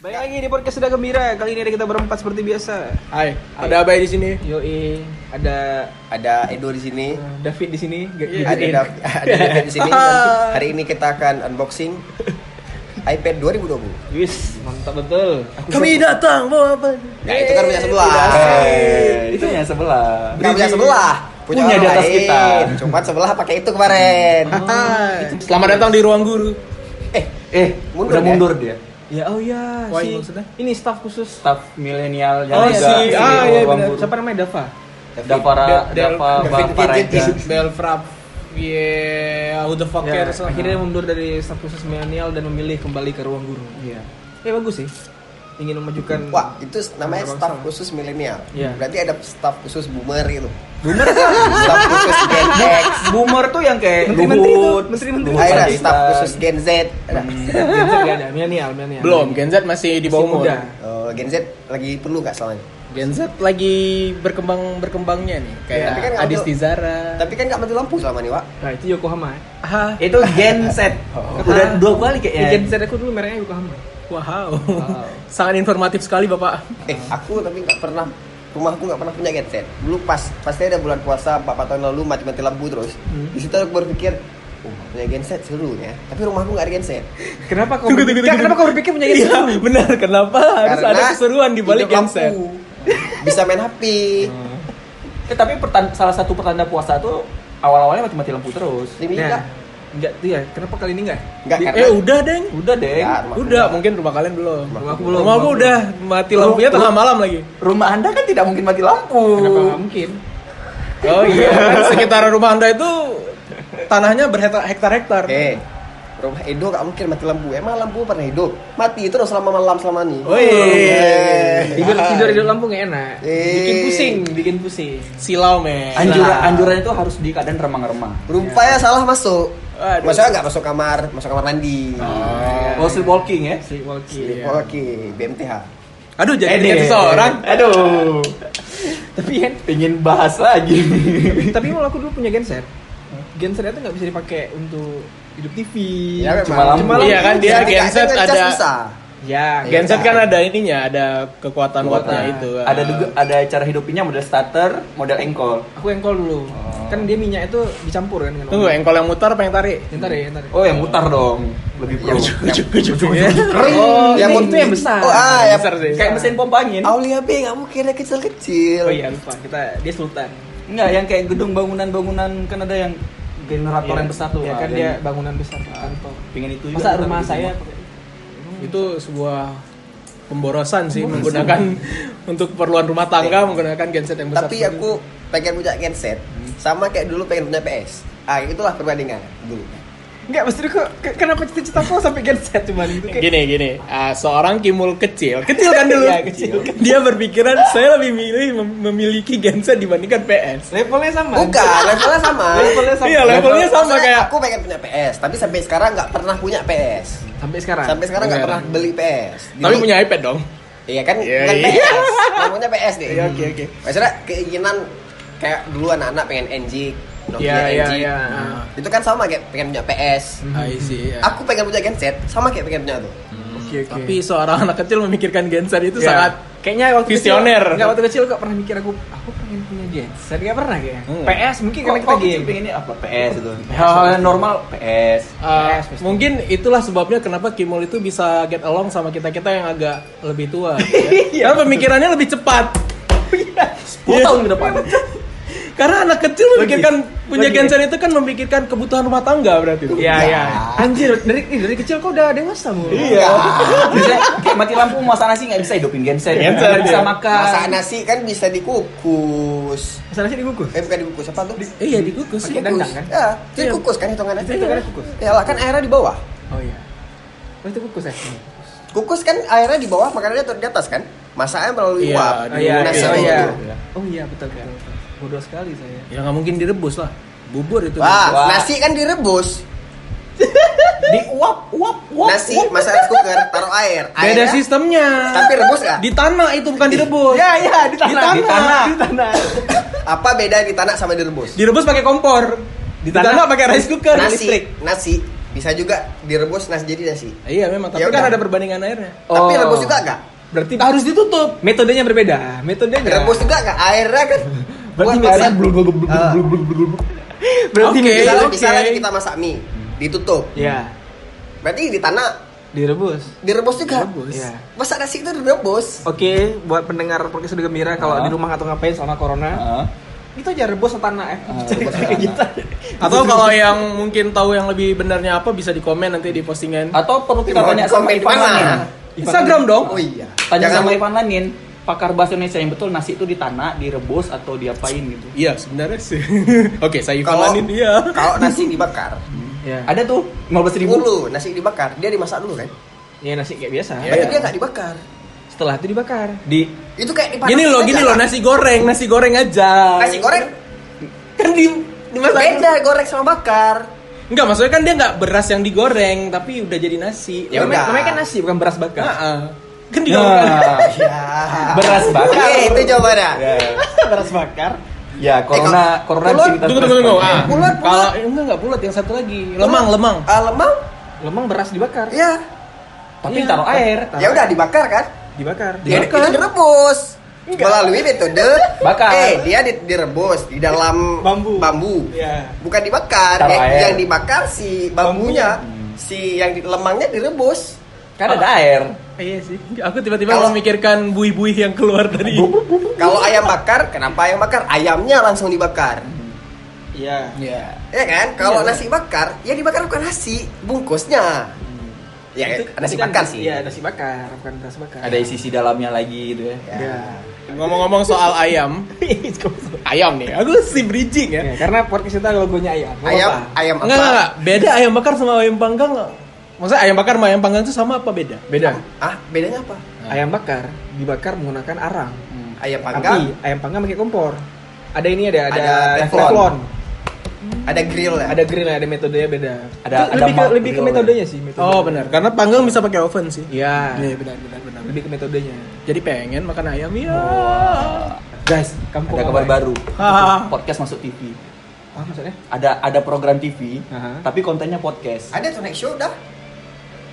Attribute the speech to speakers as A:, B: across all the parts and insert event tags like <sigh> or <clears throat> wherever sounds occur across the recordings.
A: Baik lagi di podcast sudah gembira. Kali ini ada kita berempat seperti biasa.
B: Hai, ada Abai di sini.
A: Yoi, ada
C: Ada Edo di sini, gitu.
A: eh, David di sini. Gak
B: Iya,
C: ada Dav- ada David di sini. Nanti hari ini kita akan unboxing iPad 2020.
A: Wis, mantap betul.
B: Kami datang mau apa?
C: Ya itu kan punya sebelah.
D: itu
A: ya,
D: yang sebelah.
C: Bukan punya sebelah, punya,
D: Punya
C: orang
D: di atas
C: lain.
D: kita.
C: Cuman sebelah pakai itu kemarin.
A: Ah.
B: Hai. Selamat datang di ruang guru.
C: Eh,
D: Eh,
C: Mundur
D: udah
C: ya?
D: mundur dia.
A: Ya oh ya,
B: Why,
A: si
B: maksudnya?
A: ini staf khusus.
D: Staff milenial yang
A: Oh,
D: juga
A: si
D: CEO
A: ah iya
D: Ruang
A: benar.
D: Guru.
A: Siapa namanya Dava?
D: Davara
B: Del-
D: Dava
B: David
D: Bang Pareja.
B: Gadget is Belfrap. Yeah, who the fuck
A: Ya,
B: cares?
A: akhirnya mundur dari staf khusus milenial dan memilih kembali ke ruang guru.
D: Iya.
A: Eh bagus sih. Ingin memajukan
C: wah itu namanya
A: Bangsa.
C: staff khusus milenial.
A: Iya.
C: Berarti ada staff khusus boomer itu. Boomer? <laughs> staff khusus Gen X.
D: Boomer tuh yang kayak
A: Menteri-menteri itu,
D: Luhut,
A: menteri-menteri.
D: Luhut
C: Ada
D: Panjaitan.
C: staff khusus Gen Z. Ada.
A: Gen Z gak ada, milenial, milenial.
B: Belum, Gen Z masih
A: Masih
B: di bawah umur.
A: muda.
C: Oh, Gen Z lagi perlu nggak soalnya?
B: Gen Z lagi berkembang
A: Iya,
B: berkembangnya nih,
C: Ya,
B: kayak
C: tapi kan
B: Adis
C: auto-
B: Tizara.
C: Tapi kan nggak mati lampu selama ini, Wak.
A: Nah, itu Yokohama. ya.
B: Ah,
D: Itu Gen
B: <laughs>
D: Z. Udah dua kali kayaknya.
A: Gen Z aku dulu mereknya Yokohama.
B: wow. Sangat informatif sekali bapak.
C: Eh, aku tapi nggak pernah rumahku nggak pernah punya genset. Dulu pas pasti ada bulan puasa 4 tahun lalu mati-mati lampu terus.
B: Hmm.
C: Di situ aku berpikir, oh punya genset seru ya. Tapi rumahku nggak ada genset.
A: Kenapa kau
B: Tunggu, tunggu,
A: Kak,
B: tunggu.
A: Kenapa kau berpikir punya Gen Z?
B: Iya, benar. Kenapa harus ada keseruan di balik Hmm.
C: hidup
B: Gen
C: lampu.
B: Z?
C: <laughs> Bisa main HP.
D: Eh, tapi pertan- salah satu pertanda puasa tuh awal-awalnya mati-mati lampu terus.
C: Ini
A: Nah,
C: enggak.
A: enggak tuh ya. Kenapa kali ini enggak?
C: Enggak
A: Di-
C: karena
B: Eh udah deng.
D: Udah deh.
C: Ya, rumahku
B: Udah,
C: nggak.
B: mungkin rumah kalian belum.
A: Rumah aku belum.
B: Rumah aku udah mati lampunya tengah malam lagi.
D: Rumah Anda kan tidak mungkin mati lampu.
A: Kenapa nggak mungkin?
B: Oh iya, kan <laughs> sekitar rumah anda itu tanahnya berhektar-hektar.
C: Eh, rumah Edo nggak mungkin mati lampu. Emang lampu pernah hidup? Mati terus selama malam selama ini. Iya.
B: Woi.
A: Tidur
B: Ah.
A: tidur hidup lampu nggak enak.
C: Eh.
A: Bikin pusing, bikin pusing.
B: Silau men.
D: Anjuran
A: Nah.
D: anjuran itu harus di keadaan remang-remang.
C: Rupanya ya salah masuk.
B: Aduh.
C: Maksudnya nggak masuk kamar, masuk kamar mandi.
A: Iya.
B: iya.
D: Oh, sleepwalking
A: <laughs>
D: ya.
A: Sleep walkie.
C: Oke, BMTH.
B: Aduh jadi
D: Eh, deh.
B: eh, seorang.
D: Aduh.
A: Tapi kan,
D: Pengen bahas
A: <laughs>
D: lagi.
A: tapi malah aku dulu punya genset. Genset itu nggak bisa dipakai untuk hidup TV.
C: Ya, memang.
D: Cuma lampu.
B: Iya kan dia
C: Tapi nggak
B: genset
C: ngecas
B: ada Iya.
C: bisa.
A: gitu. Ya,
B: Gen
A: genset.
B: Z kan ada ininya, ada kekuatan
A: Kekuatan.
B: kuatnya itu.
D: Nah, ada juga ada cara hidupinnya model starter, model engkol.
A: Aku engkol dulu. Kan dia minyak itu dicampur kan dengan
B: Tunggu, eh,
A: obat.
B: engkol yang mutar pengen tarik.
A: Ntar ya, ntar. ya.
D: Oh, yang mutar dong. Lebih
C: Iya,
A: Iya,
D: pro.
B: Iya.
C: Ring.
A: Oh,
C: Yang
A: ini
C: mut-
A: itu yang besar.
C: Oh, ah, yang
B: Besar sih.
D: kayak mesin pompa angin.
C: Aulia B nggak mungkin ada kecil-kecil.
A: Oh iya lupa, kita dia sultan.
D: Enggak, yang kayak gedung bangunan-bangunan kan ada yang generator yang besar tuh.
A: Ya
D: ah,
A: kan
D: yang
A: dia bangunan besar kantor.
D: pingin
A: Ah.
D: itu
A: Masa
D: tapi
A: rumah
D: di
A: saya
D: rumah.
B: Itu sebuah pemborosan sih menggunakan <laughs> untuk keperluan rumah tangga menggunakan genset yang besar. Hmm.
C: Tapi ya, aku pengen punya genset sama kayak dulu pengen punya PS. Ah, itulah perbandingan dulu.
A: Enggak, mesti kok ke- kenapa cita-cita kok sampai genset cuman itu kayak
B: Gini gini, ah, seorang kimul kecil, kecil kan dulu.
A: Iya, kecil.
B: Dia berpikiran saya lebih milih mem- memiliki genset dibandingkan PS.
A: levelnya sama.
C: Bukan, levelnya sama.
A: Levelnya sama.
B: Iya, levelnya sama
C: Maksudnya,
B: kayak
C: aku pengen punya PS, tapi sampai sekarang nggak pernah punya PS.
A: Sampai sekarang.
C: Sampai sekarang nggak
B: Iya.
C: pernah beli PS.
B: tapi
C: Jadi-
B: punya iPad dong.
C: Iya kan,
B: Iya,
C: bukan
B: iya.
C: PS, namanya PS deh.
B: Iya, oke, oke.
C: Maksudnya keinginan kayak dulu anak-anak pengen NG, Nokia
B: Iya, iya,
C: NG.
B: iya.
C: Itu kan sama kayak pengen punya PS.
B: I see,
A: iya.
B: ya.
C: Aku pengen punya genset, sama kayak pengen punya tuh.
A: Oke, oke.
B: Tapi seorang anak kecil memikirkan genset itu
A: Iya.
B: sangat
A: kayaknya waktu
B: visioner.
A: Kecil, enggak waktu kecil kok pernah mikir aku aku pengen punya genset. Enggak pernah kayaknya.
B: Hmm.
A: PS mungkin
D: kan
A: karena kita game.
D: pengennya apa? PS itu.
A: Ya,
D: Hal-hal yang normal PS.
B: Uh,
A: Yes, pasti.
B: mungkin itulah sebabnya kenapa Kimul itu bisa get along sama kita kita yang agak lebih tua,
A: <laughs> Iya.
B: ya. karena pemikirannya lebih cepat.
D: 10 tahun ke
A: <laughs>
D: depan.
B: Karena anak kecil memikirkan punya
A: Logis.
B: genset itu kan memikirkan kebutuhan rumah tangga berarti.
A: Iya, iya.
C: Iya.
A: Anjir, dari dari kecil kok udah dewasa mulu.
C: Iya.
D: bisa kayak mati lampu masak nasi nggak bisa hidupin genset.
B: Genset,
D: Nggak
B: iya.
D: bisa makan.
C: Masak nasi kan bisa dikukus.
A: Masalahnya dikukus.
C: Eh bukan dikukus, apa tuh?
B: Eh iya dikukus
A: Pakai
B: sih.
A: dan- Dandang, kan?
C: Ya, jadi kukus kan hitungannya.
A: Itu hitungannya kukus.
C: Ya lah kan airnya di bawah.
A: Oh iya. Oh, itu kukus ya?
C: Kukus kan airnya di bawah, makanannya turun di atas kan? Masaknya melalui
B: Iya,
C: uap.
B: Oh, iya,
C: Nasi
B: iya,
C: tuh.
B: iya.
A: Oh iya, betul kan. Bodoh sekali saya.
B: Ya nggak mungkin direbus lah. Bubur itu.
C: Wah,
D: Wah.
C: nasi kan direbus.
D: Di uap uap uap.
C: Nasi masak rice cooker, taruh air.
B: Beda
C: Airnya-
B: sistemnya.
C: Tapi rebus nggak? Iya,
B: Di tanah itu bukan direbus.
A: Ya, ya, di tanah.
B: Di tanah.
A: Di tanah.
C: Apa beda di tanah sama direbus?
B: Direbus pakai kompor. Di
A: tanah.
B: tanah pakai rice cooker.
C: nasi,
B: listrik.
C: nasi Bisa juga direbus nasi jadi nasi.
B: iya memang tapi
C: Ya udah.
B: kan ada perbandingan airnya
C: Tapi
D: Oh.
C: rebus juga enggak?
A: Berarti
B: harus ditutup
A: metodenya berbeda. Metodenya.
C: Rebus juga enggak? Airnya kan
A: Berarti
C: buat masak.
A: metodenya blub, blub, blub, blub,
C: Ah.
A: blub, blub, blub. <laughs> Berarti
B: Oke,
A: metode-
C: Misalnya,
A: oke.
C: misalnya nih kita masak mie, ditutup.
A: Ya,
C: Berarti di tanah
A: direbus.
C: direbus juga.
B: Direbus.
A: Iya.
C: Masak nasi itu direbus.
A: Oke, buat pendengar podcast Udah Gembira kalau di
D: Ah.
A: rumah atau ngapain selama corona,
D: Heeh.
A: itu aja rebus tanah ya.
D: Ah,
A: Cari
D: rebus
A: kayak <laughs>
D: tanah.
A: gitu.
B: atau kalau yang mungkin tahu yang lebih benarnya apa bisa di komen nanti di postingan
D: Atau perlu kita
C: Komen-
D: tanya sama
C: komen Ivan
D: Ivan Lanin.
C: lah.
B: Instagram dong
C: Oh iya.
D: Tanya
C: Jangan
D: sama Ivan Lanin, pakar bahasa Indonesia yang betul nasi itu ditanak, direbus atau diapain gitu.
B: iya sebenarnya sih <laughs> oke saya
C: kalau
B: Ivan Iya. dia
C: kalau nasi dibakar,
A: Ya.
D: Ada tuh 15 ribu.
C: dulu nasi dibakar, dia dimasak dulu kan?
A: Ya nasi kayak biasa.
B: Iya.
C: Tapi dia nggak dibakar.
A: Setelah itu dibakar.
B: di
C: Itu kayak dipanasin
B: gini loh
C: aja
B: gini
C: lah.
B: loh nasi goreng nasi goreng aja
C: Nasi goreng
B: kan di
C: beda goreng sama bakar.
B: Enggak, maksudnya kan dia enggak beras yang digoreng, tapi udah jadi nasi.
C: Ya
A: namanya,
C: udah.
A: namanya kan nasi bukan beras bakar.
B: Heeh. Kan digoreng.
D: Nah,
C: Ya.
D: beras bakar.
C: Oke, itu jawabannya.
D: Ya, ya.
A: beras bakar.
D: Ya, corona,
C: Eh,
D: corona
C: kalau-
D: di sini
B: Tunggu,
D: terus-
B: tunggu, tunggu. Ah.
C: Bulat, bulat.
B: Kalau enggak enggak bulat, yang satu lagi. Lemang, lemang.
C: Ah, lemang?
A: Lemang beras dibakar.
C: Ya.
D: Tapi
A: Iya.
D: taruh air.
C: Ya udah dibakar kan?
A: Dibakar.
D: Iya.
C: Dia itu direbus. Melalui metode
D: Bakar.
C: Eh, dia di- direbus di dalam
A: Bambu.
C: bambu.
A: Iya.
C: Bukan dibakar.
D: Taruh
C: Yang,
D: air.
C: yang dibakar si bambunya, si yang di, lemangnya direbus.
D: Kan ada air.
B: Ah, iya sih. Aku tiba-tiba
C: Kalau-
B: memikirkan buih-buih yang keluar dari
C: Kalau ayam bakar, kenapa ayam bakar? Ayamnya langsung dibakar.
A: Iya.
D: Iya.
C: Ya kan? Kalau
B: Iya.
C: nasi bakar, ya dibakar bukan nasi, bungkusnya. Ya,
A: Itu-
C: nasi
A: itu kan
C: bakar
A: nasi-
C: sih.
A: Iya, nasi bakar, bukan beras bakar.
D: Ada isi-isi dalamnya lagi gitu ya.
A: Iya. <laughs>
C: Ya.
B: Ngomong-ngomong soal ayam. ayam nih. Aku si bridging ya.
A: Ya, karena podcast kita logonya ayam. Gak
C: Ayam,
A: apa-apa.
C: ayam
B: Enggak,
C: apa?
B: enggak, enggak. Beda ayam bakar sama ayam panggang. nggak? Maksudnya ayam bakar sama ayam panggang itu sama apa beda? Beda.
C: Ah, bedanya apa?
A: Ayam bakar dibakar menggunakan arang.
C: Ayam panggang,
A: Tapi ayam panggang pakai kompor. Ada ini ada ada,
C: Ada teflon.
A: teflon.
C: ada grill ya.
A: Ada grill ada metodenya beda. Itu
D: Ada- ada
A: lebih ke
D: mark
A: lebih ke
D: grill.
A: metodenya sih metode.
B: Oh, benar. Karena panggang bisa pakai oven sih.
A: Iya.
B: Iya, benar, benar, benar.
A: Lebih ke metodenya.
B: Jadi pengen makan ayam ya.
A: Guys, kampung
D: Ada kabar
A: apa ya?
D: baru.
B: Ah.
D: Podcast masuk TV.
A: Apa maksudnya?
D: Ada ada program TV,
A: Aha.
D: tapi kontennya podcast.
C: Ada Tonight Show dah.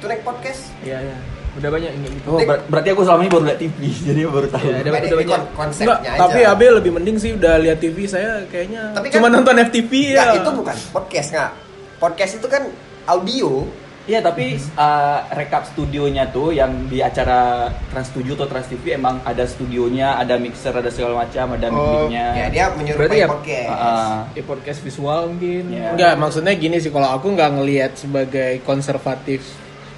C: Tonight Podcast.
A: Iya, iya. Udah banyak yang kayak gitu.
D: Oh, ber- berarti aku selama ini baru lihat TV, <laughs> jadi baru tahu.
A: Iya, ada-
C: Ada
A: udah banyak.
C: konsepnya
B: Nggak,
C: aja.
B: tapi Abe lebih mending sih udah lihat TV saya kayaknya
C: Tapi kan-
B: cuma nonton FTV ya.
C: Nggak, itu bukan podcast nggak. Podcast itu kan audio.
D: Iya, tapi uh, rekap studionya tuh yang di acara Trans 7 atau Trans TV emang ada studionya, ada mixer, ada segala macam, ada
A: Oh,
D: mic-nya.
C: Ya, dia menyerupai
A: Berarti ya,
C: podcast.
D: Ah,
A: Ya, podcast visual mungkin.
D: Iya.
B: Enggak, maksudnya gini sih kalau aku nggak ngelihat sebagai konservatif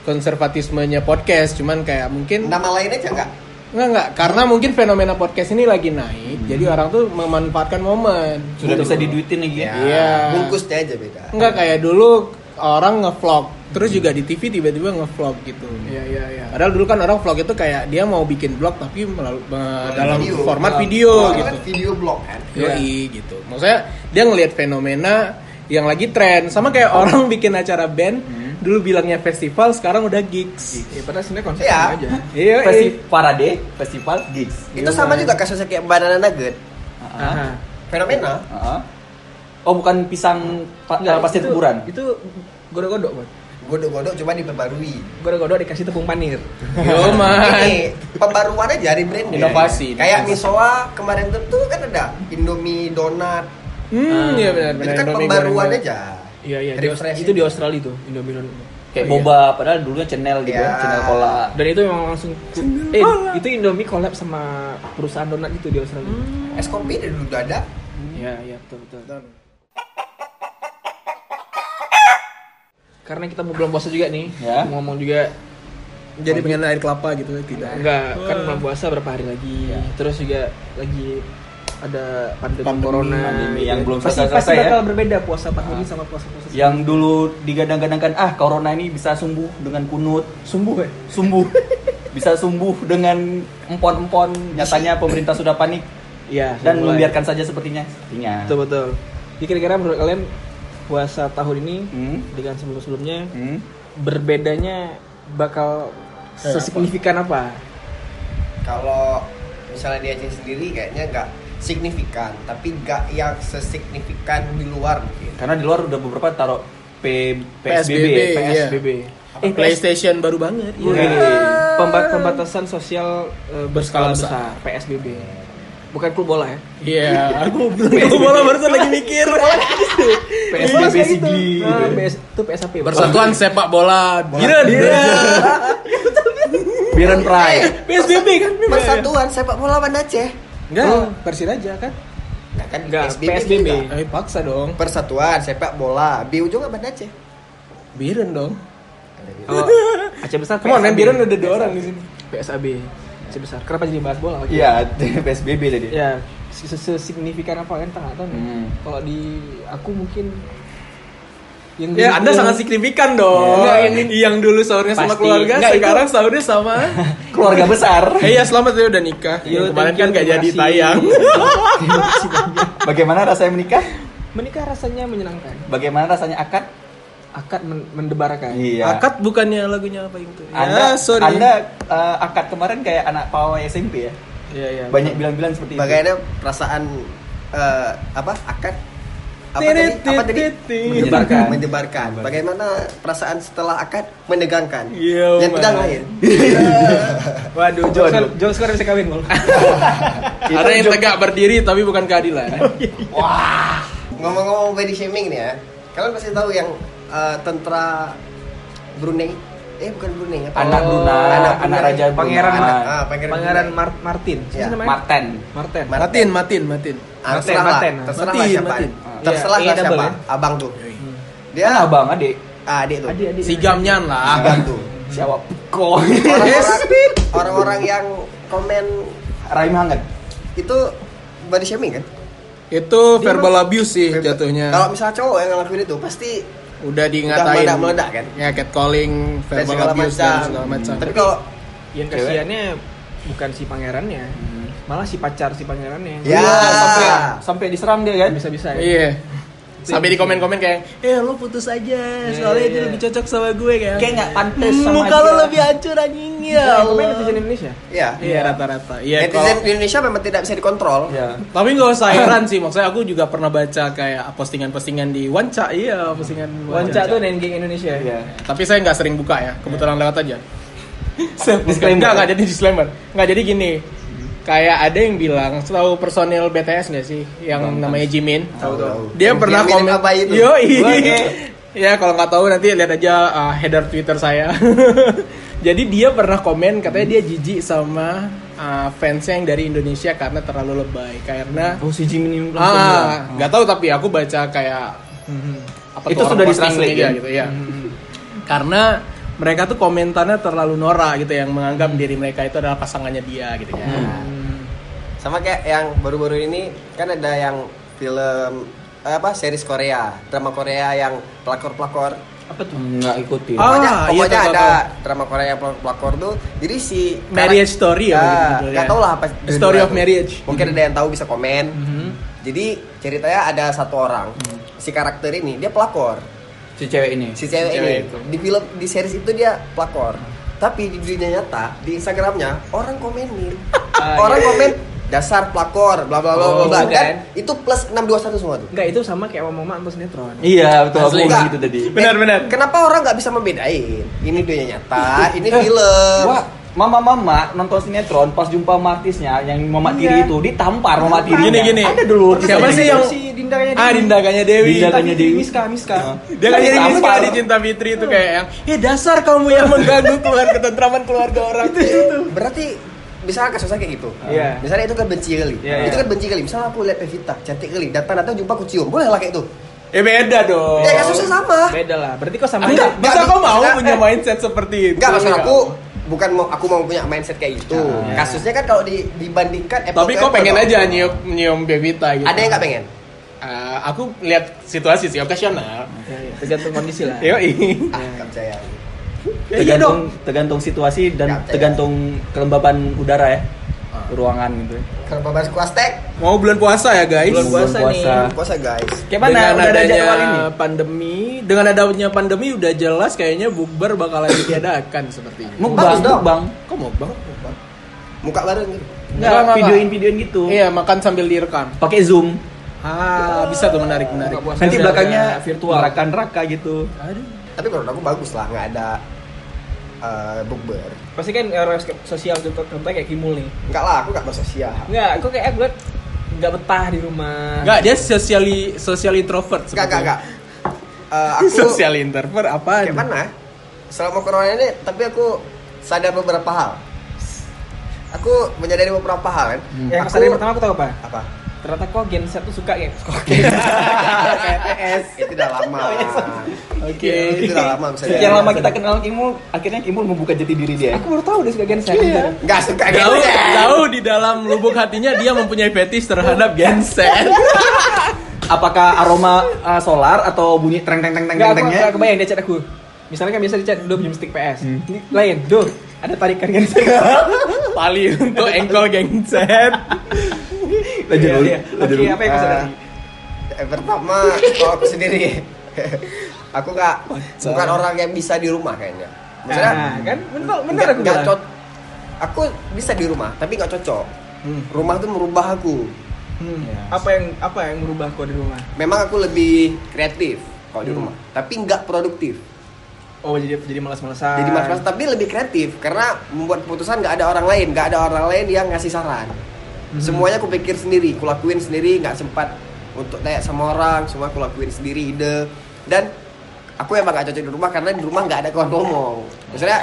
B: konservatismenya podcast, cuman kayak mungkin
C: Nama lain aja nggak?
B: enggak enggak karena mungkin fenomena podcast ini lagi naik, jadi orang tuh memanfaatkan momen.
D: sudah
B: Gitu
D: bisa
B: loh.
D: diduitin lagi ya.
B: Iya.
C: Bungkusnya aja beda.
B: Enggak kayak dulu orang ngevlog, terus juga di TV tiba-tiba ngevlog gitu.
A: Iya, iya, iya.
B: Padahal dulu kan orang vlog itu kayak dia mau bikin vlog tapi melalui, dalam
C: Video.
B: format
C: Dalam-
B: video
C: Orang
B: gitu.
C: Kan video blog kan.
B: Yoi gitu. Maksudnya dia ngelihat fenomena yang lagi tren sama kayak orang <laughs> bikin acara band dulu bilangnya festival sekarang udah gigs.
A: Ya, padahal sebenarnya konsepnya
C: Iya.
A: sama aja.
B: Iya,
D: Festi- Parade, festival gigs.
C: Itu sama juga kasusnya kayak banana nugget.
D: Ah,
A: Aha.
C: Fenomena.
D: ah. Oh, bukan pisang pa-
A: Nggak,
D: pasir
A: itu-
D: kuburan.
A: Itu godok-godok, Bang.
C: Godok-godok cuma diperbarui.
A: Godok-godok dikasih tepung
C: <laughs>
A: panir. Iya,
B: Yo man.
C: Ini pembaruan aja dari brand ya.
B: Inovasi.
C: Kayak misoa kemarin tuh, tuh kan ada Indomie donat.
B: Hmm, iya benar
C: Itu
B: benar.
C: kan
B: Indomie
C: pembaruan
B: goreng.
C: aja.
A: Iya, iya. Di,
C: Refresh
A: itu di Australia itu, Indomie Don.
B: Iya.
D: Kayak boba, padahal dulunya channel gitu,
C: Iya.
D: ya, channel cola.
A: Dan itu memang langsung eh itu Indomie collab sama perusahaan donat itu di Australia.
C: Es kopi dari dulu udah ada.
D: Hmm.
A: Iya, iya, betul, betul. Karena kita mau bulan puasa juga nih,
D: Ya.
A: mau ngomong juga
B: Jadi pengen air kelapa gitu tidak.
A: enggak kan bulan puasa berapa hari lagi.
D: Ya.
A: Terus juga lagi ada pandemi,
B: Pandemi,
A: corona
D: pandemi
A: gitu.
D: yang belum
A: pasti,
D: selesai-
A: pasti
D: selesai ya. Ah.
A: bakal berbeda puasa tahun ini sama puasa-puasa
D: Yang dulu digadang-gadangkan, ah corona ini bisa sembuh dengan kunut,
A: sumbu ya.
D: sumbuh. bisa sembuh dengan empon-empon. Nyatanya pemerintah sudah panik
A: Iya,
D: dan
A: mulai.
D: membiarkan saja sepertinya. Sepertinya.
A: Betul betul. Jadi kira-kira menurut kalian puasa tahun ini
D: Hmm.
A: dengan sebelum-sebelumnya
D: Hmm.
A: berbedanya bakal sesignifikan apa?
C: Kalau misalnya di Aceh sendiri kayaknya nggak signifikan, tapi nggak yang sesignifikan di luar mungkin.
D: Karena di luar udah beberapa taruh P, PSBB,
B: PSBB, iya.
D: PSBB.
B: Eh, PlayStation baru banget.
A: Iya.
B: Iya.
A: Pemba- pembatasan sosial eh, berskala besar.
B: Berskala
A: PSBB. Bukan klub bola ya.
B: Iya, aku belum bola barusan lagi mikir.
D: PSBB
A: Bola kayak
D: SIGI.
A: gitu. Nah, PS itu PSAP.
B: Persatuan sepak bola. Biren.
D: Biren Pride.
B: PSBB kan?
C: Persatuan Eh, sepak bola Banda Aceh.
B: Enggak,
A: Oh.
B: Persiraja kan?
C: Nah, kan
A: Enggak,
C: SBB
A: PSBB.
C: juga.
B: Eh, paksa dong.
C: Persatuan sepak bola. B ujungnya Banda Aceh.
B: Biren dong.
D: Kalau Aceh besar.
B: Come on,
D: PSBB.
B: kan Biren ada dua orang di sini.
A: PSAB. Sebesar. Kenapa jadi bahas bola lagi?
D: Iya, <laughs> PSBB tadi.
A: Ya, se- se- sesignifikan apa kan tengah tahun.
D: Hmm.
A: Kalau di aku mungkin yang
B: Ya,
A: dulu-
B: Anda
A: yang-
B: sangat signifikan dong.
D: Iya.
B: yang, yang dulu sahurnya sama
D: Pasti.
B: keluarga,
D: Enggak, itu-
B: sekarang sahurnya sama.
D: Keluarga besar.
B: Eh ya selamat ya udah nikah.
A: Yo,
B: Yang kemarin
A: thank you,
B: kan gak
A: terima
B: jadi
A: kasih.
B: tayang.
A: Terima kasih banyak.
D: Bagaimana rasanya menikah?
A: Menikah rasanya menyenangkan.
D: Bagaimana rasanya akad?
A: Akad men- mendebarkan.
D: Iya.
C: Iya.
B: Akad bukannya lagunya apa itu?
D: Anda,
B: ya, sorry.
D: Anda eh, akad kemarin kayak anak pawai SMP ya.
B: Iya, iya.
D: Banyak bilang-bilang seperti itu.
C: Bagaimana perasaan eh, apa akad apa
B: Tirit,
C: tadi apa tadi
B: tirit, tirit.
D: Menyebarkan.
C: menyebarkan bagaimana perasaan setelah akad menegangkan
B: Iya,
C: dan
B: Mas.
C: pedang lain
A: Waduh,
D: Waduh.
A: jokes kan- jokes sekarang bisa kawin, Bol.
B: Ada yang tegak berdiri tapi bukan <laughs> keadilan.
C: <laughs> ngomong-ngomong body shaming nih ya kalian pasti tahu yang eh, tentara Brunei eh bukan Brunei apa
D: Anak
A: Oh,
D: Brunei, anak,
C: anak Brunei.
D: Raja Brunei.
A: Pangeran
D: Anak-
C: ah,
A: Pangeran,
C: Pangeran
A: Mar- Martin. Siapa
C: Ya,
A: sih namanya?
D: Marten.
A: Martin.
B: Matin, matin, matin.
C: Ah,
A: Martin,
C: terserah lah
A: Martin.
C: terserah lah
B: Martin,
C: siapa
B: Martin.
A: Iya,
C: terserah lah
A: A double
C: siapa abang tuh dia
D: Kan abang, adik.
C: ah, adik tuh
A: Adik-adik.
B: Si gamnyan lah.
C: abang tuh
D: Siapa? Kok.
C: Orang-orang- orang-orang yang komen
D: Rahim hangat.
C: itu body shaming kan?
B: Itu verbal abuse sih
C: Iya,
B: jatuhnya.
C: Kalau misalnya cowok yang ngelakuin itu pasti
B: udah diingatain
C: meledak- meledak kan?
B: ya catcalling
C: dan
B: verbal
C: segala
B: abuse
C: macam.
B: dan segala macam
C: Tapi kalau
A: Yang
D: Cewek.
A: kasihannya bukan si pangerannya, malah si pacar si pangerannya.
C: Ya.
D: Iya, sampai sampai diserang dia kan.
A: Bisa-bisa ya.
B: iya sampai di komen-komen kayak eh lo putus aja soalnya
A: iya,
B: dia
A: iya.
B: lebih cocok sama gue kan
D: Kayak nggak pantas
B: Hmm,
D: sama
B: muka lo
D: dia."
B: lebih hancur anjing ya
A: Ya,
B: Allah.
A: pemain netizen Indonesia.
C: ya,
B: iya rata-rata iya
C: Iya, netizen
B: kalau
C: di Indonesia memang tidak bisa dikontrol.
D: Iya.
B: tapi nggak usah heran sih maksudnya aku juga pernah baca kayak postingan-postingan di Wanca iya postingan
A: Wanca tuh nengeng Indonesia.
D: Iya.
B: tapi saya nggak sering buka ya kebetulan lewat aja
D: Self
B: nggak nggak jadi disclaimer nggak jadi gini kayak ada yang bilang tahu personil BTS nggak sih yang namanya Jimin
C: Tahu tahu.
B: dia pernah
C: minum
B: komen iya.
C: apa itu?
B: Yoi.
D: Wah, oke.
B: ya kalau nggak tahu nanti lihat aja uh, header Twitter saya <laughs> jadi dia pernah komen katanya dia jijik sama uh, fansnya yang dari Indonesia karena terlalu lebay karena
D: Oh, si Jimmy ini langsung bilang.
B: ah nggak tahu tapi aku baca kayak apa
D: Itu sudah
B: orang posting
D: ditranslate,
B: media
D: kan?
B: gitu ya
C: Hmm.
B: karena mereka tuh komentarnya terlalu norak gitu yang menganggap
C: Hmm.
B: diri mereka itu adalah pasangannya dia gitu ya
C: Sama kayak yang baru-baru ini kan ada yang film eh, apa series Korea, drama Korea yang pelakor-pelakor.
A: Apa tuh?
D: Nggak ikutin.
B: Ah,
C: pokoknya
B: iya,
C: pokoknya
B: tahu,
C: ada
B: tahu,
C: drama Korea yang pelakor-pelakor tuh. Jadi si
B: Marriage story ya, gitu
C: ya.
B: judulnya.
C: Gak tau lah apa
B: The story of marriage. Mm-hmm.
C: Mungkin ada yang tahu bisa komen. Jadi ceritanya ada satu orang,
B: Mm-hmm.
C: si karakter ini dia pelakor,
D: Si cewek ini.
C: si cewek
B: cewek
C: ini
B: itu.
C: di film di series itu dia pelakor. Tapi di dunia nyata di Instagramnya orang
B: <laughs>
C: komenin,
A: Ah,
C: orang
A: iya.
C: komen dasar pelakor, bla bla bla
A: Oh,
C: bla bla.
A: gitu
C: Dan
A: kan?
C: itu plus 621 semua tuh.
A: Enggak, itu sama kayak mama nonton sinetron.
D: Iya, betul. Aku
B: Asli.
D: mau gitu tadi.
B: Benar, benar.
C: Kenapa orang nggak bisa membedain? Ini dunia
D: <laughs>
C: nyata, ini film.
D: Eh, Wah, mama-mama nonton sinetron pas jumpa sama artisnya yang mama tiri
A: Iya.
D: itu ditampar mama tirinya.
B: Gini, gini.
D: Ada dulu
B: Pernah Siapa
A: Ada
B: sih
A: juga
B: yang-
A: si Dinda kayaknya
B: ah
A: Dewi.
B: dindaganya Dewi
D: Dinda Kayanya Dewi.
A: Miska, Miska.
B: Dia kan jadi
D: Tampar.
B: miskin di Cinta Fitri
C: Hmm.
B: itu kayak yang, "Eh dasar kamu yang
C: <laughs>
B: mengganggu keluarga ketentraman keluarga orang."
C: Berarti bisa kasusnya kayak gitu.
A: Iya.
C: Misalnya itu kan benci kali.
D: Iya,
C: itu
D: iya.
C: kan benci kali. Misalnya aku lihat Pevita cantik kali, datang-datang jumpa aku cium. Boleh lah kayak itu.
B: Eh beda dong.
C: Ya kasusnya sama.
A: Beda lah. Berarti kok sama
B: Enggak,
A: aja.
B: bisa
C: enggak,
B: kau mau
C: enggak,
B: punya
C: eh.
B: mindset seperti itu? ya?
C: Enggak maksud aku bukan mau aku mau punya mindset kayak gitu.
D: Iya.
C: Kasusnya kan kalau di- dibandingkan apple
B: Tapi
C: to
B: kau
C: apple
B: pengen
C: dong.
B: aja nyium nyium Bebita gitu.
C: Ada yang nggak pengen?
B: Eh, aku lihat situasi sih okasional.
C: Hmm.
A: Ya, ya. Tergantung kondisi lah.
B: Yoi.
C: Ah,
D: Iya.
C: nggak percaya.
D: tergantung tergantung situasi dan
C: Nggak percaya.
D: tergantung kelembaban udara ya. Ruangan gitu. ya.
C: Kalau bahas kuas tek,
B: Mau bulan puasa ya, guys.
A: Bulan puasa nih.
C: kuasa guys.
D: Kayak mana?
B: dengan
D: Udah ada
B: adanya
D: jadwal ini.
B: pandemi, dengan adanya pandemi udah jelas kayaknya bukber bakalan ditiadakan sepertinya.
D: Mukbang,
C: Bagus dong.
D: mukbang.
B: Kok mau bang?
C: Muka bareng gitu.
B: Nggak, nggak, nggak.
D: videoin-videoin gitu.
B: Iya, makan sambil direkam.
D: Pakai Zoom.
B: Ah, bisa tuh menarik menarik.
A: Buka puasa
D: Nanti
A: udah
D: belakangnya
A: ada
D: virtual neraka-neraka gitu.
B: Aduh.
C: tapi menurut aku bagus lah nggak ada eh bukber
A: Pasti kan orang sosial contoh contoh kayak Kimul nih.
C: enggak lah aku nggak bersosial
A: Enggak, kok kayak gue nggak betah di rumah.
B: Enggak, dia socially social introvert.
C: enggak enggak enggak Eh,
B: sepertinya.
C: aku
B: Social introvert apa?
C: kayak mana ya? selama corona ini tapi aku sadar beberapa hal aku menyadari beberapa hal kan
A: Yang
C: aku
A: kesan yang pertama aku tahu apa?
C: apa
A: Ternyata kok Gen Z tuh suka kayak
C: kayak PS itu udah lama
B: Oke.
C: itu udah lama bisa
D: Sekian lama kita kenal Kimul, akhirnya Kimul membuka jati diri
A: Eh,
D: dia.
A: Aku baru tahu dia suka Gen Z.
C: nggak suka gitu
B: Tahu, tahu di dalam lubuk hatinya dia mempunyai fetish terhadap genset.
D: Apakah aroma uh, solar atau bunyi treng treng treng treng
A: Enggak, aku
D: treng trengnya?
A: nggak kebayang dia chat aku. Misalnya kan biasa di chat, do pinjam stick PS. Ini Lain, do ada tarikan Gen Z.
B: Pali untuk engkol genset.
D: Lanjut dulu.
A: Iya, iya.
D: lanjut
A: Oke,
D: dulu.
A: apa yang kesan tadi?
C: Eh, pertama kalau aku sendiri <laughs> aku nggak bukan orang yang bisa di rumah kayaknya maksudnya
A: Nah, kan benar benar
C: nggak-
A: aku
C: nggak
A: bilang.
C: cocok aku bisa di rumah tapi nggak cocok rumah tuh merubah aku
A: Hmm.
D: Yes.
A: Apa yang apa yang merubah kau di rumah?
C: memang aku lebih kreatif kalau
B: Hmm.
C: di rumah tapi nggak produktif
A: Oh, jadi jadi malas-malasan.
B: Ah.
C: jadi mas-mas tapi lebih kreatif karena membuat keputusan nggak ada orang lain nggak ada orang lain yang ngasih saran
B: Hmm.
C: semuanya aku pikir sendiri aku lakuin sendiri nggak sempat untuk tanya sama orang semua aku lakuin sendiri ide dan aku emang gak cocok di rumah karena di rumah nggak ada kawan ngomong maksudnya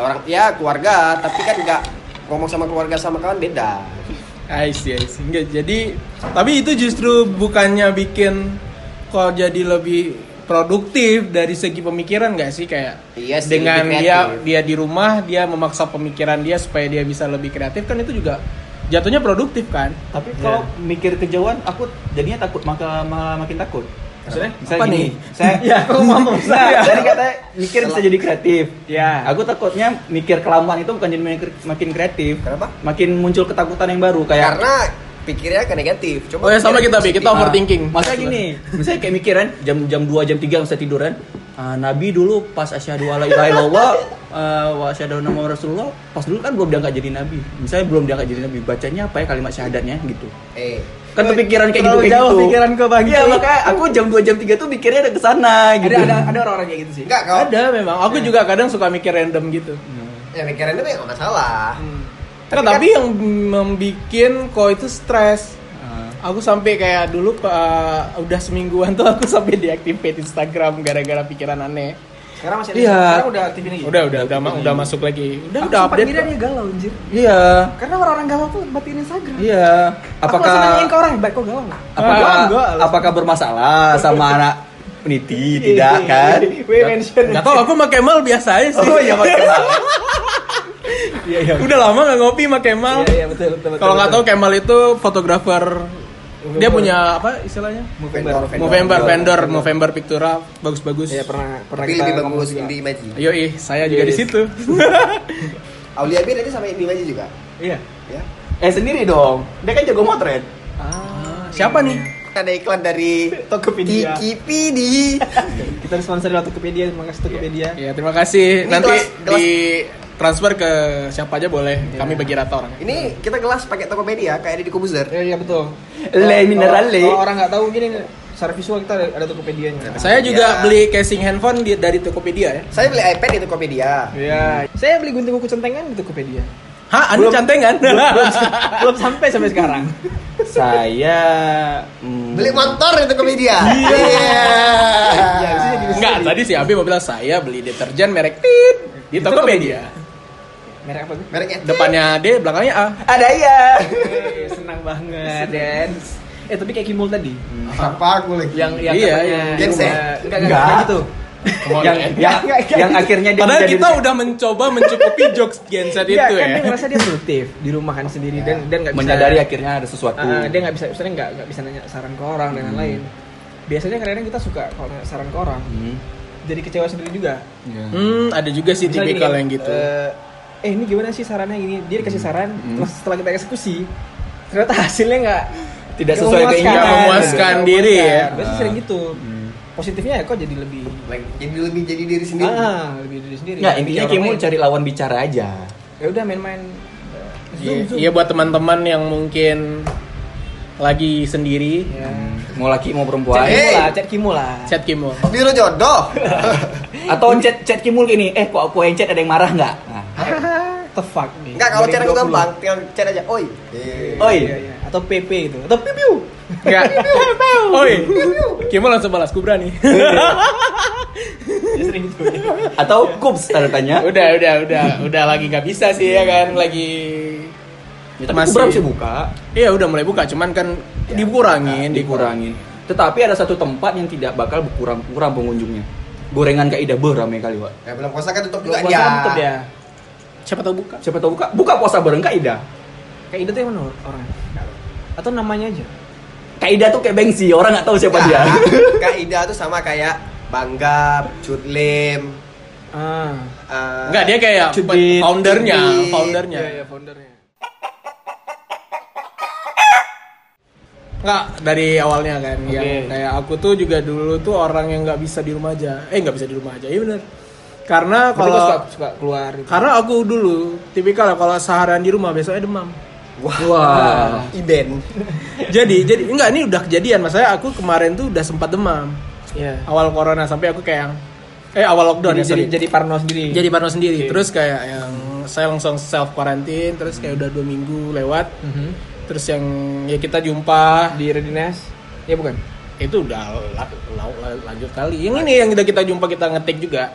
C: orang ya keluarga tapi kan nggak ngomong sama keluarga sama kawan beda
B: I see, I see. Nggak, jadi tapi itu justru bukannya bikin kok jadi lebih produktif dari segi pemikiran nggak sih kayak
C: Iya sih,
B: dengan
C: lebih
B: dia
C: kreatif.
B: dia di rumah dia memaksa pemikiran dia supaya dia bisa lebih kreatif kan itu juga jatuhnya produktif kan
D: Tapi kalau mikir kejauhan, aku jadinya takut maka malah makin takut.
A: Maksudnya?
D: Misalnya
B: Apa
D: gini,
B: nih?
D: saya
A: Ya, aku ngomong.
D: Nah, tadi katanya mikir bisa jadi kreatif. Nah,
A: Ya.
D: Aku takutnya mikir kelamaan itu bukan jadi mikir- makin kreatif.
C: Kenapa?
D: Makin muncul ketakutan yang baru kayak
C: karena pikirnya ke negatif coba
B: Oh ya, sama
C: pikiran
B: kita, Bi. Kita
C: positif.
D: Ah,
B: overthinking.
D: Maksudnya gini, misalnya kayak mikiran jam jam 2 jam 3 bisa tiduran. Ah, Nabi dulu pas asyhadu alla ilaha illallah eh, wa asyhadu anna Muhammadar rasulullah, pas dulu kan belum diangkat jadi nabi. Misalnya belum diangkat jadi nabi, bacanya apa ya kalimat syahadatnya gitu.
C: eh
D: Kan kepikiran kayak gitu
A: Terlalu
D: kayak
A: jauh
D: gitu.
A: pikiran ke Bang.
D: Iya, makanya aku jam 2 jam 3 tuh mikirnya ada ke sana gitu.
A: Ada ada ada orang-orang kayak gitu sih.
C: enggak kau
B: ada memang aku juga kadang suka mikir random gitu
C: ya pikirannya tuh nggak masalah
A: Hmm.
B: Nah, tapi yang membikin kok itu stres aku sampai kayak dulu eh, udah semingguan tuh aku sampai deactivate Instagram gara-gara pikiran aneh
A: Sekarang masih ada.
D: Iya.
A: Sekarang udah TV lagi.
B: udah udah udah, ma- udah masuk lagi udah
A: Aku
B: udah
A: sempat
B: update
A: kira
B: kok.
A: dia galau anjir.
D: Iya.
A: Karena orang-orang galau tuh batin Instagram.
D: Iya.
A: Aku langsung nanyain
D: Apakah
A: ke orang, "Baik kok galau nggak?
D: apakah
B: Ah, enggak.
D: apakah bermasalah sama anak peniti tidak
C: Iya.
D: kan?
A: Iya, We mention.
B: Gak tau, aku pakai mal biasa aja sih.
D: Oh iya
B: <laughs>
D: makanya.
A: Iya iya.
B: Udah lama gak ngopi pakai mal.
A: Iya iya betul betul.
B: Kalau nggak tahu Kemal itu fotografer. Dia punya apa istilahnya?
C: Vendor, vendor.
B: Movember, vendor, Movember Pictura, bagus-bagus.
A: Iya pernah pernah
C: tapi lebih bagus Indi Imaji
B: Ayo ih, saya juga di
A: Yes.
B: situ.
C: Aulia Bir nanti sama Indi Imaji juga
A: Iya.
C: ya
D: Eh sendiri dong. Dia kan jago motret.
B: Siapa nih?
C: ada iklan dari
A: Tokopedia.
C: Wikipedia
A: Kita disponsori oleh Tokopedia, terima kasih Tokopedia.
B: Ya, terima kasih.
C: Ini
B: Nanti
C: gelas- gelas-
B: di transfer ke siapa aja boleh. Kami bagi rata orangnya.
C: ini kita kelas pakai Tokopedia kayak ada di Kobuzer
A: Iya iya betul.
D: Le
A: Kalau-
D: Minerale.
A: Kalau orang nggak tahu gini secara visual kita ada, ada Tokopedianya.
B: Saya juga
C: Iya.
B: beli casing handphone di- dari Tokopedia ya.
C: saya beli iPad di Tokopedia
A: Iya. Saya beli gunting kuku centengan di Tokopedia.
B: Hah, Anda kan?
A: <laughs>
B: cantengan? <laughs>
A: Belum sampai sampai sekarang.
D: Saya mm,
C: beli motor di Tokopedia iya
A: Iya, bisa jadi
B: Enggak, tadi si Abi mau bilang saya beli deterjen merek tit di Tokopedia.
A: Merek apa? tuh?
C: mereknya
B: Depannya D, belakangnya A. ya.
D: ada iya.
A: Eh, senang banget, Den. Eh tapi kayak Kimul tadi.
C: apa aku lagi
A: Yang yang
B: Iya,
A: katanya
B: iya.
C: Gense.
A: kan? Enggak enggak kayak gitu.
D: yang yang, yang akhirnya dia
B: Padahal
D: menjadi-
B: kita udah mencoba mencukupi jokes genset
A: Iya,
B: itu
A: kan
B: ya.
A: dia merasa dia produktif di rumah kan sendiri dan dan nggak bisa
D: menyadari akhirnya Iya. ada sesuatu.
A: Ah, dia nggak bisa misalnya nggak nggak bisa nanya saran ke orang dan lain-lain. Biasanya kadang-kadang kita suka kalau nanya saran ke orang
D: Hmm.
A: jadi kecewa sendiri juga.
B: Hmm, ada juga sih
A: Misalnya
B: tipikal
A: gini,
B: yang gitu.
A: eh, eh ini gimana sih sarannya gini? Dia dikasih saran, terus setelah kita eksekusi, ternyata hasilnya nggak
D: Tidak
A: nggak
D: sesuai
A: memuaskan.
D: keinginan.
B: Nggak memuaskan
A: Nggak
B: diri ya.
A: memuaskan. Biasanya
D: Ah.
A: sering gitu. Positifnya ya kok jadi lebih
C: Lagi- jadi lebih jadi diri sendiri
A: ah lebih diri sendiri.
D: Ya intinya
A: Kayak Iya, orang
D: kamu
A: lain.
D: cari lawan bicara aja.
A: ya udah main-main. eh,
B: Iya
A: Zoom, Zoom.
B: iya, buat teman-teman yang mungkin lagi sendiri
A: Ya.
D: Mau laki mau
A: Chat
D: perempuan.
C: Cek.
A: Kimul
C: Hey.
A: lah, chat Kimul lah.
B: chat Kimul
C: Biru jodoh.
A: eh.
D: Atau chat chat Kimul gini, eh kok aku yang chat ada yang marah nggak? Nah.
A: The fuck nih.
C: Enggak kalau chat aku
A: 2020.
C: gampang, tinggal chat aja. Oi. Eh.
D: Oi,
A: Iya, iya. Atau PP gitu. Atau <laughs> pipiu.
B: Enggak. <laughs> Oi. Kimul langsung balas kubra nih.
A: Ya sering gitu.
D: atau kups tanda tanya.
B: <laughs> udah, udah, udah, udah lagi nggak bisa sih ya kan, lagi
D: Ya, tapi
B: Masih.
D: kubra bisa buka,
B: Iya udah mulai buka, cuman kan
D: iya,
B: dikurangin, dikurangin.
D: dikurangin. Tetapi ada satu tempat yang tidak bakal berkurang-kurang pengunjungnya. Gorengan Kak Ida beramai kali, Wak.
C: Ya belum puasa kan tutup
A: Belum puasa
C: juga dia.
A: kan tutup ya.
B: Siapa tahu buka.
D: Siapa tahu buka? Buka puasa bareng Kak Ida.
A: Kayak Ida tuh yang mana orang? Atau namanya aja.
D: Kak Ida tuh kayak Bengsi, orang nggak tahu siapa
A: <laughs>
D: dia.
C: Enggak, <laughs> Kak Ida tuh sama kayak Bangga, Cutlim,
A: Ah.
C: eh,
B: Enggak, dia kayak
A: Cudit.
B: foundernya,
C: Cudit.
B: foundernya.
A: Iya, foundernya.
B: Enggak, dari awalnya kan.
A: Oke.
B: Yang kayak aku tuh juga dulu tuh orang yang nggak bisa di rumah aja. Eh, nggak bisa di rumah aja. Iya bener. Karena
A: Kalau
B: kalau
A: suka, suka keluar gitu.
B: karena aku dulu tipikal kalau seharian di rumah besoknya demam.
D: Wah.
C: Iben.
B: jadi, jadi enggak ini udah kejadian. Maksudnya aku kemarin tuh udah sempat demam
A: Iya.
B: awal corona sampai aku kayak yang- eh awal lockdown
A: Jadi,
B: ya,
A: jadi,
B: sorry.
A: jadi parno sendiri.
B: jadi parno sendiri
A: Oke.
B: terus kayak yang saya langsung self quarantine terus kayak udah dua minggu lewat
A: Mhm.
B: terus yang ya kita jumpa
A: di Redinas. Ya bukan.
B: itu udah la- la- la- lanjut kali yang ini yang udah kita jumpa kita ngetik juga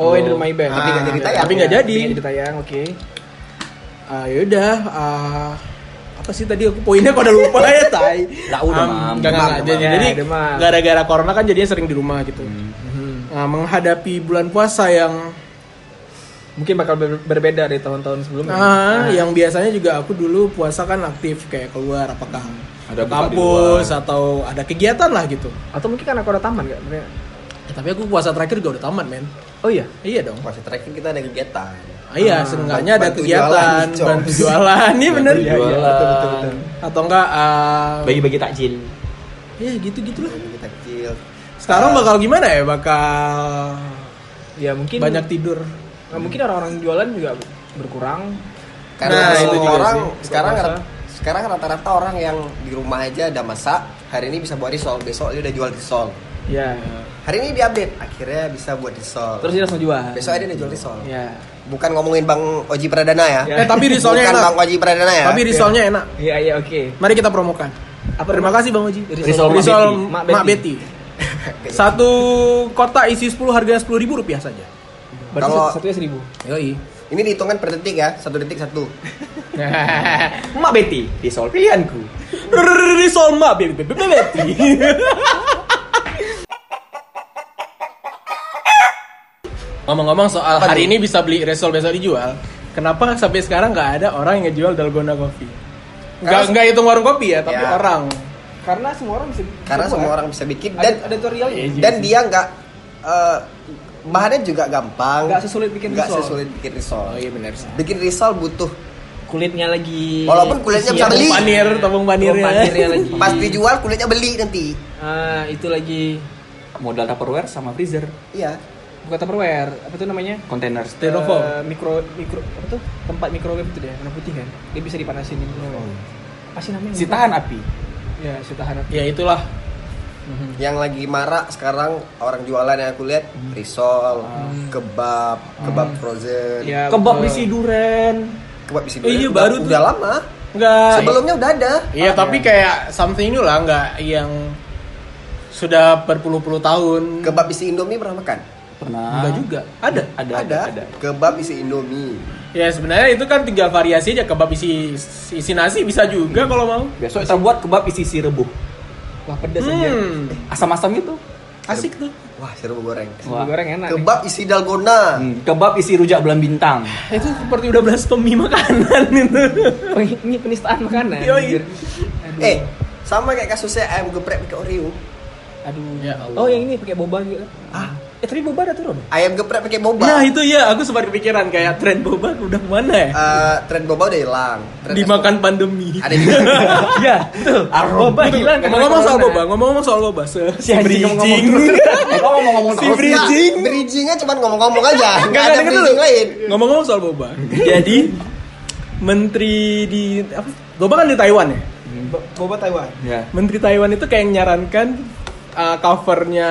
A: Oh, yang di
D: Oh.
A: rumah Iben.
C: Tapi nggak jadi
B: Ah,
C: tayang.
B: tapi nggak
A: Ya,
B: jadi
A: tapi nggak jadi tayang, oke.
B: Ah, yaudah ah, apa sih tadi aku poinnya kok udah lupa
D: <laughs>
B: ya tai
D: Lah, udah, Mam. Hmm.
B: nggak, nggak,
A: Demam,
B: jadi
A: demam.
B: jadi
A: Ya, demam.
B: gara-gara corona kan jadinya sering di rumah gitu
A: Mhm.
B: Nah, menghadapi bulan puasa yang
A: Mungkin bakal ber- berbeda dari tahun-tahun sebelumnya. Nah,
B: Ah,
A: iya.
B: yang biasanya juga aku dulu puasa kan aktif kayak keluar apakah ada
D: Ada buka di
B: kampus
D: luar.
B: atau ada kegiatan lah gitu.
A: Atau mungkin karena aku ada taman nggak? Maksudnya-
B: Ya, tapi aku puasa terakhir juga udah tamat, men.
A: Oh iya.
B: Iya dong.
C: Puasa terakhir kita ada kegiatan.
B: Ah, iya, seenggaknya ada
C: bantu
B: kegiatan,
C: jualan,
B: bantu
C: Cok.
B: jualan. Iya bener.
D: Bantu jualan.
B: Atau enggak ah,
D: Bagi-bagi takjil.
B: ya gitu-gitu lah.
C: Kita kecil. Ah.
B: Sekarang bakal gimana ya? Bakal
A: Ya mungkin
B: banyak tidur.
A: Nah, mungkin orang-orang jualan juga berkurang.
C: Karena
B: Nah, itu
C: semua
B: juga
C: orang
B: sih.
C: sekarang
A: Puasa.
C: sekarang rata-rata orang yang di rumah aja ada masak, hari ini bisa buat risol, besok dia udah jual risol.
A: Ya.
C: Hari ini diupdate, akhirnya bisa buat risol.
A: Terus dia langsung jual.
C: besok dia udah jual risol.
A: Ya.
C: Bukan ngomongin Bang Oji Pradana ya.
A: Ya.
B: Eh, tapi risolnya
C: Bukan
B: enak.
C: Bang Oji Pradana ya.
B: Tapi risolnya enak.
A: Iya, iya, oke.
B: Mari kita promokan.
A: Apa
B: Terima
A: nama?
B: kasih Bang Uji.
D: Risol Mak
B: Risol
A: Betty. Mak
B: Mak Betty.
C: <laughs>
A: Betty.
C: gitu.
B: Satu kotak isi 10 harganya 10 ribu rupiah saja.
A: Berarti
C: Kalau-
A: satunya seribu.
B: Yoi.
C: Ini dihitungkan per detik ya, satu detik satu.
D: Mak Betty, di soal pilihanku.
B: Risol Mak Be- Be- Be- Be- Betty. <laughs> Ngomong-ngomong soal
C: Apa
B: hari
C: tuh?
B: ini bisa beli risol besok dijual. Kenapa sampai sekarang nggak ada orang yang ngejual dalgona kopi?
C: Karena-
B: Nggak nggak hitung warung kopi ya, tapi
C: Ya.
B: orang.
A: Karena semua orang bisa.
C: Karena
A: bisa
C: semua
A: buat.
C: orang bisa bikin
A: ya? ada,
C: dan
A: ada tutorialnya.
B: Iya, iya.
C: dan dia nggak eh, bahannya juga gampang.
A: Nggak sesulit bikin
C: Nggak
A: risol.
C: sesulit bikin risol.
B: iya benar sih.
C: Bikin risol butuh
A: Kulitnya lagi.
C: Walaupun kulitnya bisa
A: Siap.
C: beli.
B: Panir, tabung panirnya.
A: Tabung panirnya <laughs> lagi.
C: pas dijual kulitnya beli nanti.
A: Ah, itu lagi
D: Modal Tupperware sama freezer,
C: Iya.
A: bukan tupperware. Apa tuh namanya?
D: kontainer.
B: Styrofoam.
A: Eh, mikro mikro apa tuh tempat microwave itu deh warna putih kan dia bisa dipanasin di microwave apa sih namanya
D: Si tahan api.
A: ya si tahan api.
B: Ya itulah.
C: Yang lagi marak sekarang orang jualan yang aku lihat risol, kebab, kebab frozen,
A: ya
D: Kebab
A: betul.
D: isi duren.
C: kebab isi
B: Iya,
C: goreng. udah,
B: baru tuh. iya.
C: udah lama.
B: Nggak
C: Sebelumnya udah ada.
B: Iya, tapi kayak something new lah, nggak yang sudah berpuluh-puluh tahun.
C: Kebab isi Indomie pernah makan?
D: Pernah.
B: Nggak juga. Ada.
D: Ada, ada,
C: Ada.
D: ada.
C: Kebab isi Indomie.
B: Ya sebenarnya itu kan tinggal variasi aja kebab isi isi nasi bisa juga kalau mau.
D: Besok kita buat kebab isi si rebuk.
A: wah pedes aja
B: Hmm.
D: Asam-asam itu.
B: Asik tuh.
C: Wah, serbu goreng.
A: Nasi
D: Wah.
A: goreng enak nih.
C: Kebab isi dalgona.
D: Hmm, kebab isi rujak belam bintang.
B: Itu seperti udah blasfemi makanan <laughs> itu. iya.
A: Peng- <laughs> ini penistaan makanan
B: Yoi.
A: anjir. aduh
C: Eh, sama kayak kasusnya ayam geprek pakai Oreo.
A: aduh
B: Ya Allah.
A: oh yang ini pakai boba gitu ah eh tapi boba ada turun
C: Ayam geprek pakai boba.
B: Nah, itu ya aku sempat kepikiran kayak tren boba udah mana ya?
C: Eh, tren boba udah hilang. Tren
B: Dimakan pandemi.
C: Ada juga.
A: ya betul boba hilang karena
B: Ngomong-ngomong soal
A: corona.
B: boba, ngomong-ngomong soal boba. Se- Si
D: anjing
B: bridging. <laughs>
D: Eh, kamu mau ngomong
B: <laughs> Si
D: terus?
B: bridging. Bridging.
C: Nggak, Bridgingnya cuma ngomong-ngomong aja. Enggak
B: Nggak,
C: ada
B: denger dulu.
C: bridging lain.
B: Ngomong-ngomong soal boba. Jadi menteri di apa? Boba kan di Taiwan ya?
A: Bo- Boba Taiwan.
D: Ya.
B: Menteri Taiwan itu kayak nyarankan uh, covernya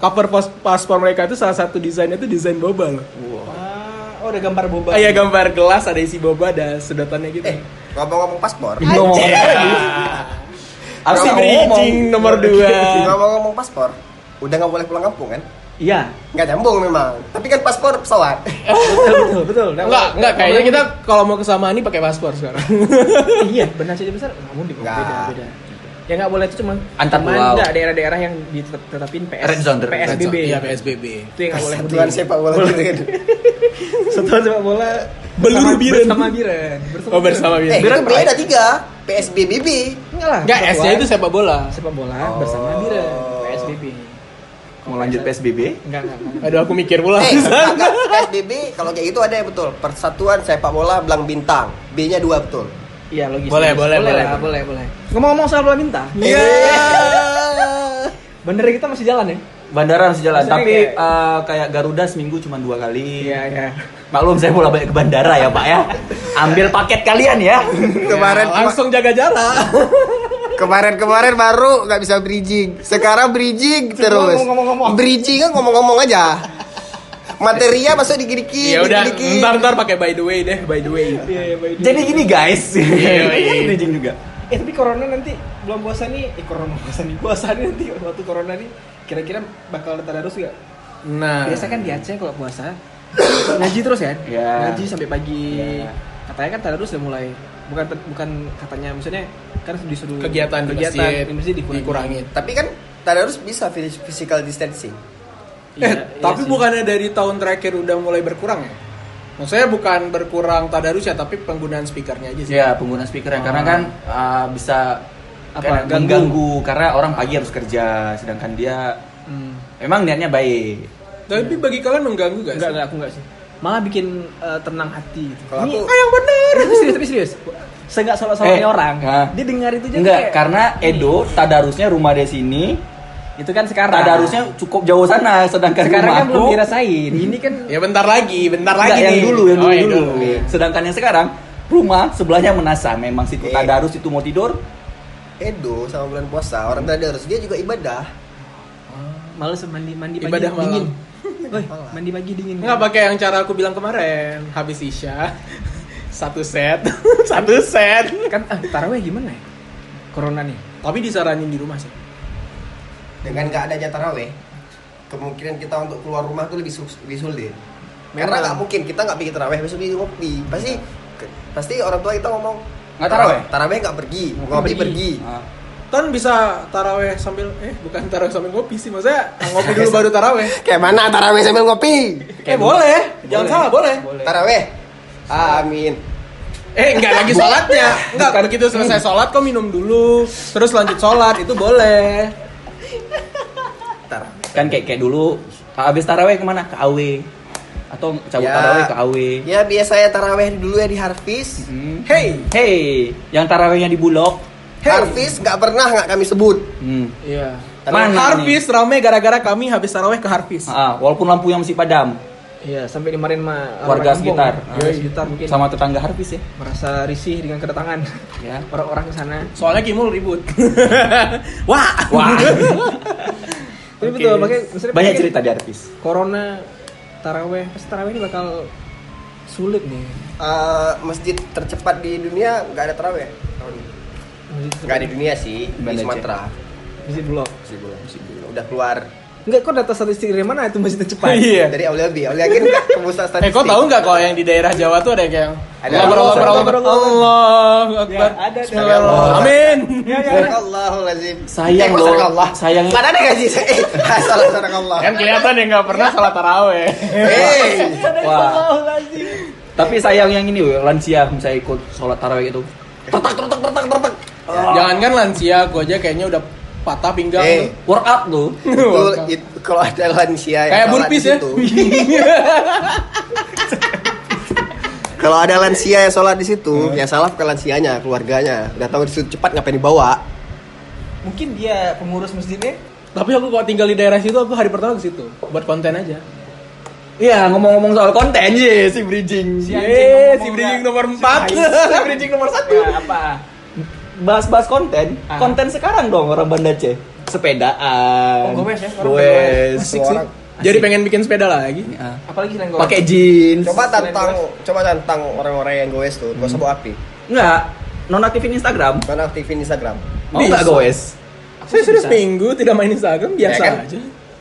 B: cover pos- paspor mereka itu salah satu desainnya itu desain boba loh.
A: Ah, oh ada gambar Boba.
B: Ah, ya gambar gelas ada isi boba ada sedotannya gitu.
C: Eh, ngomong-ngomong paspor.
D: Ngomong-
B: Harus
C: Kalau
B: bridging nomor 2.
C: <laughs> Ngomong-ngomong paspor, udah nggak boleh pulang kampung kan?
D: Iya.
C: Nggak nyambung memang. Tapi kan paspor pesawat.
A: betul betul betul. Nah,
B: Enggak, enggak kayaknya kita kalau mau ke Samani pakai paspor
C: <laughs>
B: sekarang.
A: iya benar saja besar namun di
C: Nggak.
A: beda beda ya nggak boleh itu cuma
D: Antar
A: cuma
D: pulau.
A: ada daerah-daerah yang ditetapin PS
D: Red zone, red
A: PSBB
B: Iya, PSBB.
A: itu yang nggak boleh
C: Persatuan sepak bola gitu kan.
B: Iya.
A: satuan sepak bola
B: Beluru
A: bersama-
B: Biren.
A: bersama Biren bersama
B: Oh bersama
C: Eh,
B: Biren.
C: itu beda tiga. PSBBB.
A: enggak lah
B: Enggak,
A: satuan
B: S-nya itu sepak bola.
A: sepak bola
C: Oh.
A: bersama Biren PSBB
D: Mau lanjut PSBB?
A: enggak enggak enggak.
B: Aduh aku mikir pula.
C: Eh, enggak, enggak. PSBB kalau kayak gitu ada yang betul. Persatuan sepak bola Belang Bintang. B-nya dua betul.
A: iya logis
B: Boleh,
A: logis.
B: boleh, boleh.
A: lah, boleh boleh ngomong-ngomong soal bola minta
B: <laughs> Iya.
A: bandara kita masih jalan ya
D: Bandara harus jalan,
A: Maksudnya
D: tapi
A: kayak-
D: eh, kayak Garuda seminggu cuma dua kali.
A: iya
D: Maklum saya bolak balik ke bandara ya Pak ya. Ambil paket kalian
C: Iya,
D: ya.
C: Kemarin
B: Langsung jaga jarak.
C: kemarin-kemarin baru nggak bisa bridging. Sekarang bridging terus.
A: ngomong-ngomong.
C: Bridging kan ngomong-ngomong aja. Materinya masuk dikit-dikit,
B: Ya udah,
C: dikit-dikit.
B: ntar ntar pakai by the way deh, by the way.
A: iya iya baik
D: Jadi gini guys,
B: Iya, iya.
D: <laughs> Ini kan bridging juga.
A: Eh tapi corona nanti belum puasa nih, eh corona belum puasa nih, puasa nih nanti waktu corona nih kira-kira bakal ada tadarus nggak?
B: Nah,
A: Biasa kan di Aceh kalau puasa ngaji terus kan?
D: Iya.
A: Ngaji sampai pagi.
D: Iya.
A: Katanya kan tadarus udah mulai. Bukan bukan katanya maksudnya kan disuruh
B: kegiatan di
A: kegiatan
B: masjid
A: di masjid dikurangi.
B: dikurangi.
C: Tapi kan tadarus bisa phys- physical distancing.
A: Iya,
B: Eh,
A: iya sih.
B: tapi bukannya dari tahun terakhir udah mulai berkurang ya? Maksudnya bukan berkurang tadarus ya, tapi penggunaan speakernya aja sih.
D: Ya pengguna speaker ya, karena kan eh, bisa
A: Apa,
D: kayak
A: ganggu?
D: mengganggu karena orang pagi harus kerja, sedangkan dia
A: Hmm.
D: memang niatnya baik.
A: Iya.
B: Tapi bagi kalian mengganggu gak
A: Enggak
B: sih?
A: enggak aku enggak sih. Malah bikin eh, tenang hati gitu.
C: Kalau
A: Ini-
C: aku-
A: Ah, yang bener. Tapi serius tapi serius. Seenggak salah-salahnya
D: Eh,
A: orang.
D: ah.
A: Dia dengar itu juga
D: Enggak,
A: kayak-
D: karena Edo tadarusnya rumah di sini,
A: itu kan sekarang.
D: tadarusnya cukup jauh sana, sedangkan Hmm,
A: sekarang
D: rumah
A: kan belum
D: aku-
A: dirasain. Ini kan
B: Ya bentar lagi, bentar
D: Enggak,
B: lagi
D: yang
B: nih.
D: dulu, yang dulu,
B: Oh, ya
D: dulu.
B: dulu.
D: Sedangkan yang sekarang rumah sebelahnya menasa. Memang situ
A: Iya.
C: Eh.
D: tadarus itu mau tidur,
C: Edo sama bulan puasa, orang tadarus dia juga ibadah.
A: Males mandi mandi pagi
B: Ibadah malam.
A: dingin. Woi, mandi pagi dingin.
B: Enggak pakai yang cara aku bilang kemarin, habis isya <laughs> satu set, <laughs> satu set.
A: kan ah, tarawih gimana ya? Corona nih.
B: Tapi disaranin di rumah sih.
C: Dengan nggak ada taraweh, kemungkinan kita untuk keluar rumah tuh lebih, sus- lebih sulit. Karena
A: Memang.
C: nggak mungkin kita nggak bikin taraweh besok bikin ngopi. Pasti ke- pasti orang tua kita ngomong
D: Nggak taraweh? Ah.
C: Taraweh nggak pergi, ngopi pergi.
A: Ah.
B: Kan bisa taraweh sambil eh bukan taraweh sambil ngopi sih, <laughs> maksudnya ngopi dulu baru taraweh.
C: Kayak mana taraweh sambil ngopi?
B: Eh boleh, jangan
D: Boleh.
B: salah boleh.
C: Taraweh. Amin.
B: Eh enggak lagi sholatnya, <laughs> enggak begitu selesai sholat kau minum dulu, terus lanjut sholat itu boleh.
D: kan kayak kayak dulu habis taraweh kemana? Ke AW atau cabut taraweh ke AW.
C: Ya biasanya taraweh dulu ya di Harfis.
D: Hmm.
B: Hey,
D: Hey, yang tarawehnya di Bulog.
C: Harfis nggak pernah nggak kami sebut.
D: Hmm.
B: Iya.
D: Mana nih?
B: Harfis rame gara-gara kami habis taraweh ke Harfis.
D: Ah, walaupun lampu yang masih padam
A: Iya, sampai dimarin sama
D: Warga
A: orang kampung.
D: sekitar.
A: Warga Iya, sekitar mungkin
D: sama tetangga Harpis ya.
A: merasa risih dengan kedatangan <laughs>
D: Ya.
A: orang-orang ke sana.
B: Soalnya Kimul <laughs> ribut. Wah.
D: Wah,
A: Tapi
B: Oke.
A: betul, makanya <laughs> maksudnya
D: banyak
A: mungkin
D: cerita di Harpis.
A: Corona taraweh, pasti taraweh ini bakal sulit nih.
C: Eh, masjid tercepat di dunia nggak ada taraweh tahun ini. Nggak di dunia sih, di
D: Banda
C: Sumatera.
A: Masjid blok.
C: Masjid Bulan, Masjid Bulan. Udah keluar.
A: Enggak, kok data statistik dari mana itu masjid tercepat?
B: Iya.
C: Dari Aulia B. Aulia kan kemusat
B: <laughs> Eh
C: statistik.
B: kau tahu nggak kalau yang di daerah Jawa tuh ada yang kayak
C: Ada.
B: Allah Allah Allah Allah
A: Allah, Allah,
B: Akbar.
A: Ya, ada, ada.
B: Bismillahirrahmanirrahim. Amin.
A: Ya, ya, ya.
C: Astagfirullahaladzim.
D: Sayang
C: Eh, kok
D: loh,
C: sadaqallah?
D: sayang.
C: Mana ada gaji? <laughs> Eh, salah sadaqallah.
B: Kan kelihatan ya nggak pernah salat taraweh.
C: Hey.
D: Wah,
A: Astagfirullahaladzim.
D: tapi sayang yang ini weh, lansia misalnya ikut sholat taraweh itu. Tertak tertak tertak tertak.
B: Jangan kan lansia, gua aja kayaknya udah patah pinggang.
C: Eh,
B: tuh.
D: Workout tuh.
B: <laughs>
C: itu, itu kalau ada lansia yang
B: Kayak
C: sholat
B: burpees
C: di
B: ya.
C: situ. Kalau ada lansia yang sholat di situ, yang salah bukan lansianya, keluarganya. Udah tahu di situ cepat ngapain dibawa.
A: Mungkin dia pengurus masjidnya
B: <laughs> Tapi aku kok tinggal di daerah situ, aku hari pertama ke situ buat konten aja.
D: Iya, ngomong-ngomong soal konten ye, si bridging.
A: Si
B: Yeay,
A: anjing ngomong nggak?
B: si
D: <laughs>
B: bridging nomor
A: Si
B: 4
A: tai.
B: Si bridging nomor 1
A: apa?
D: Ya, bahas-bahas konten,
B: Ah.
D: konten sekarang dong orang Banda C. Sepedaan.
A: Oh, gowes ya, orang
C: Eh,
D: Gowes.
B: Asik sih.
C: orang-
B: Jadi pengen bikin sepeda lagi.
D: Ah.
A: Apalagi selain gue.
D: Pakai jeans.
C: Coba
A: Selain
C: tantang,
A: gowes.
C: coba tantang orang-orang yang goes tuh,
B: Hmm.
C: gak usah bawa api.
D: Enggak, nonaktifin Instagram.
C: Mana aktifin Instagram?
D: Mau enggak
B: Bisa.
D: gowes?
B: Saya sudah seminggu tidak main Instagram
C: Ya
B: biasa
C: kan?
B: aja.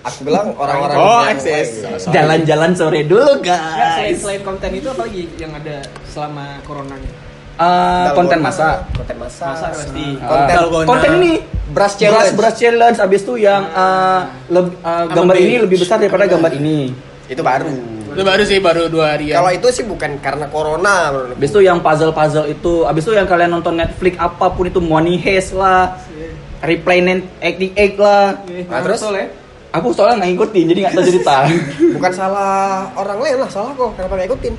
C: Aku bilang orang-orang
B: Oh,
C: yang
B: akses.
C: lain.
B: Sorry.
D: Jalan-jalan sore dulu,
A: Nggak, selain,
D: guys.
A: selain konten itu apalagi yang ada selama corona nih?
D: Ah,
C: Dalam
D: konten
C: bola,
D: masa.
C: konten masa.
A: Masa pasti.
D: Ah,
C: Konten-
B: dalgona.
D: konten ini
C: Brush
D: Beras
C: challenge. Ah,
D: beras challenge abis itu yang eh, leb- eh, gambar
B: Sama
D: ini
B: beige.
D: lebih besar daripada gambar ini.
C: Itu baru.
B: Itu baru sih baru dua hari. ya.
C: Kalau itu sih bukan karena corona menurut
D: Abis itu yang puzzle-puzzle itu, abis itu yang kalian nonton Netflix apapun itu Money Heist lah, Nah, Replay 88 lah.
C: Nah, terus?
A: betul ya?
D: Aku soalnya nggak ngikutin jadi nggak tahu cerita. <laughs>
C: Bukan salah orang lain lah, salah kok. Kenapa nggak ikutin?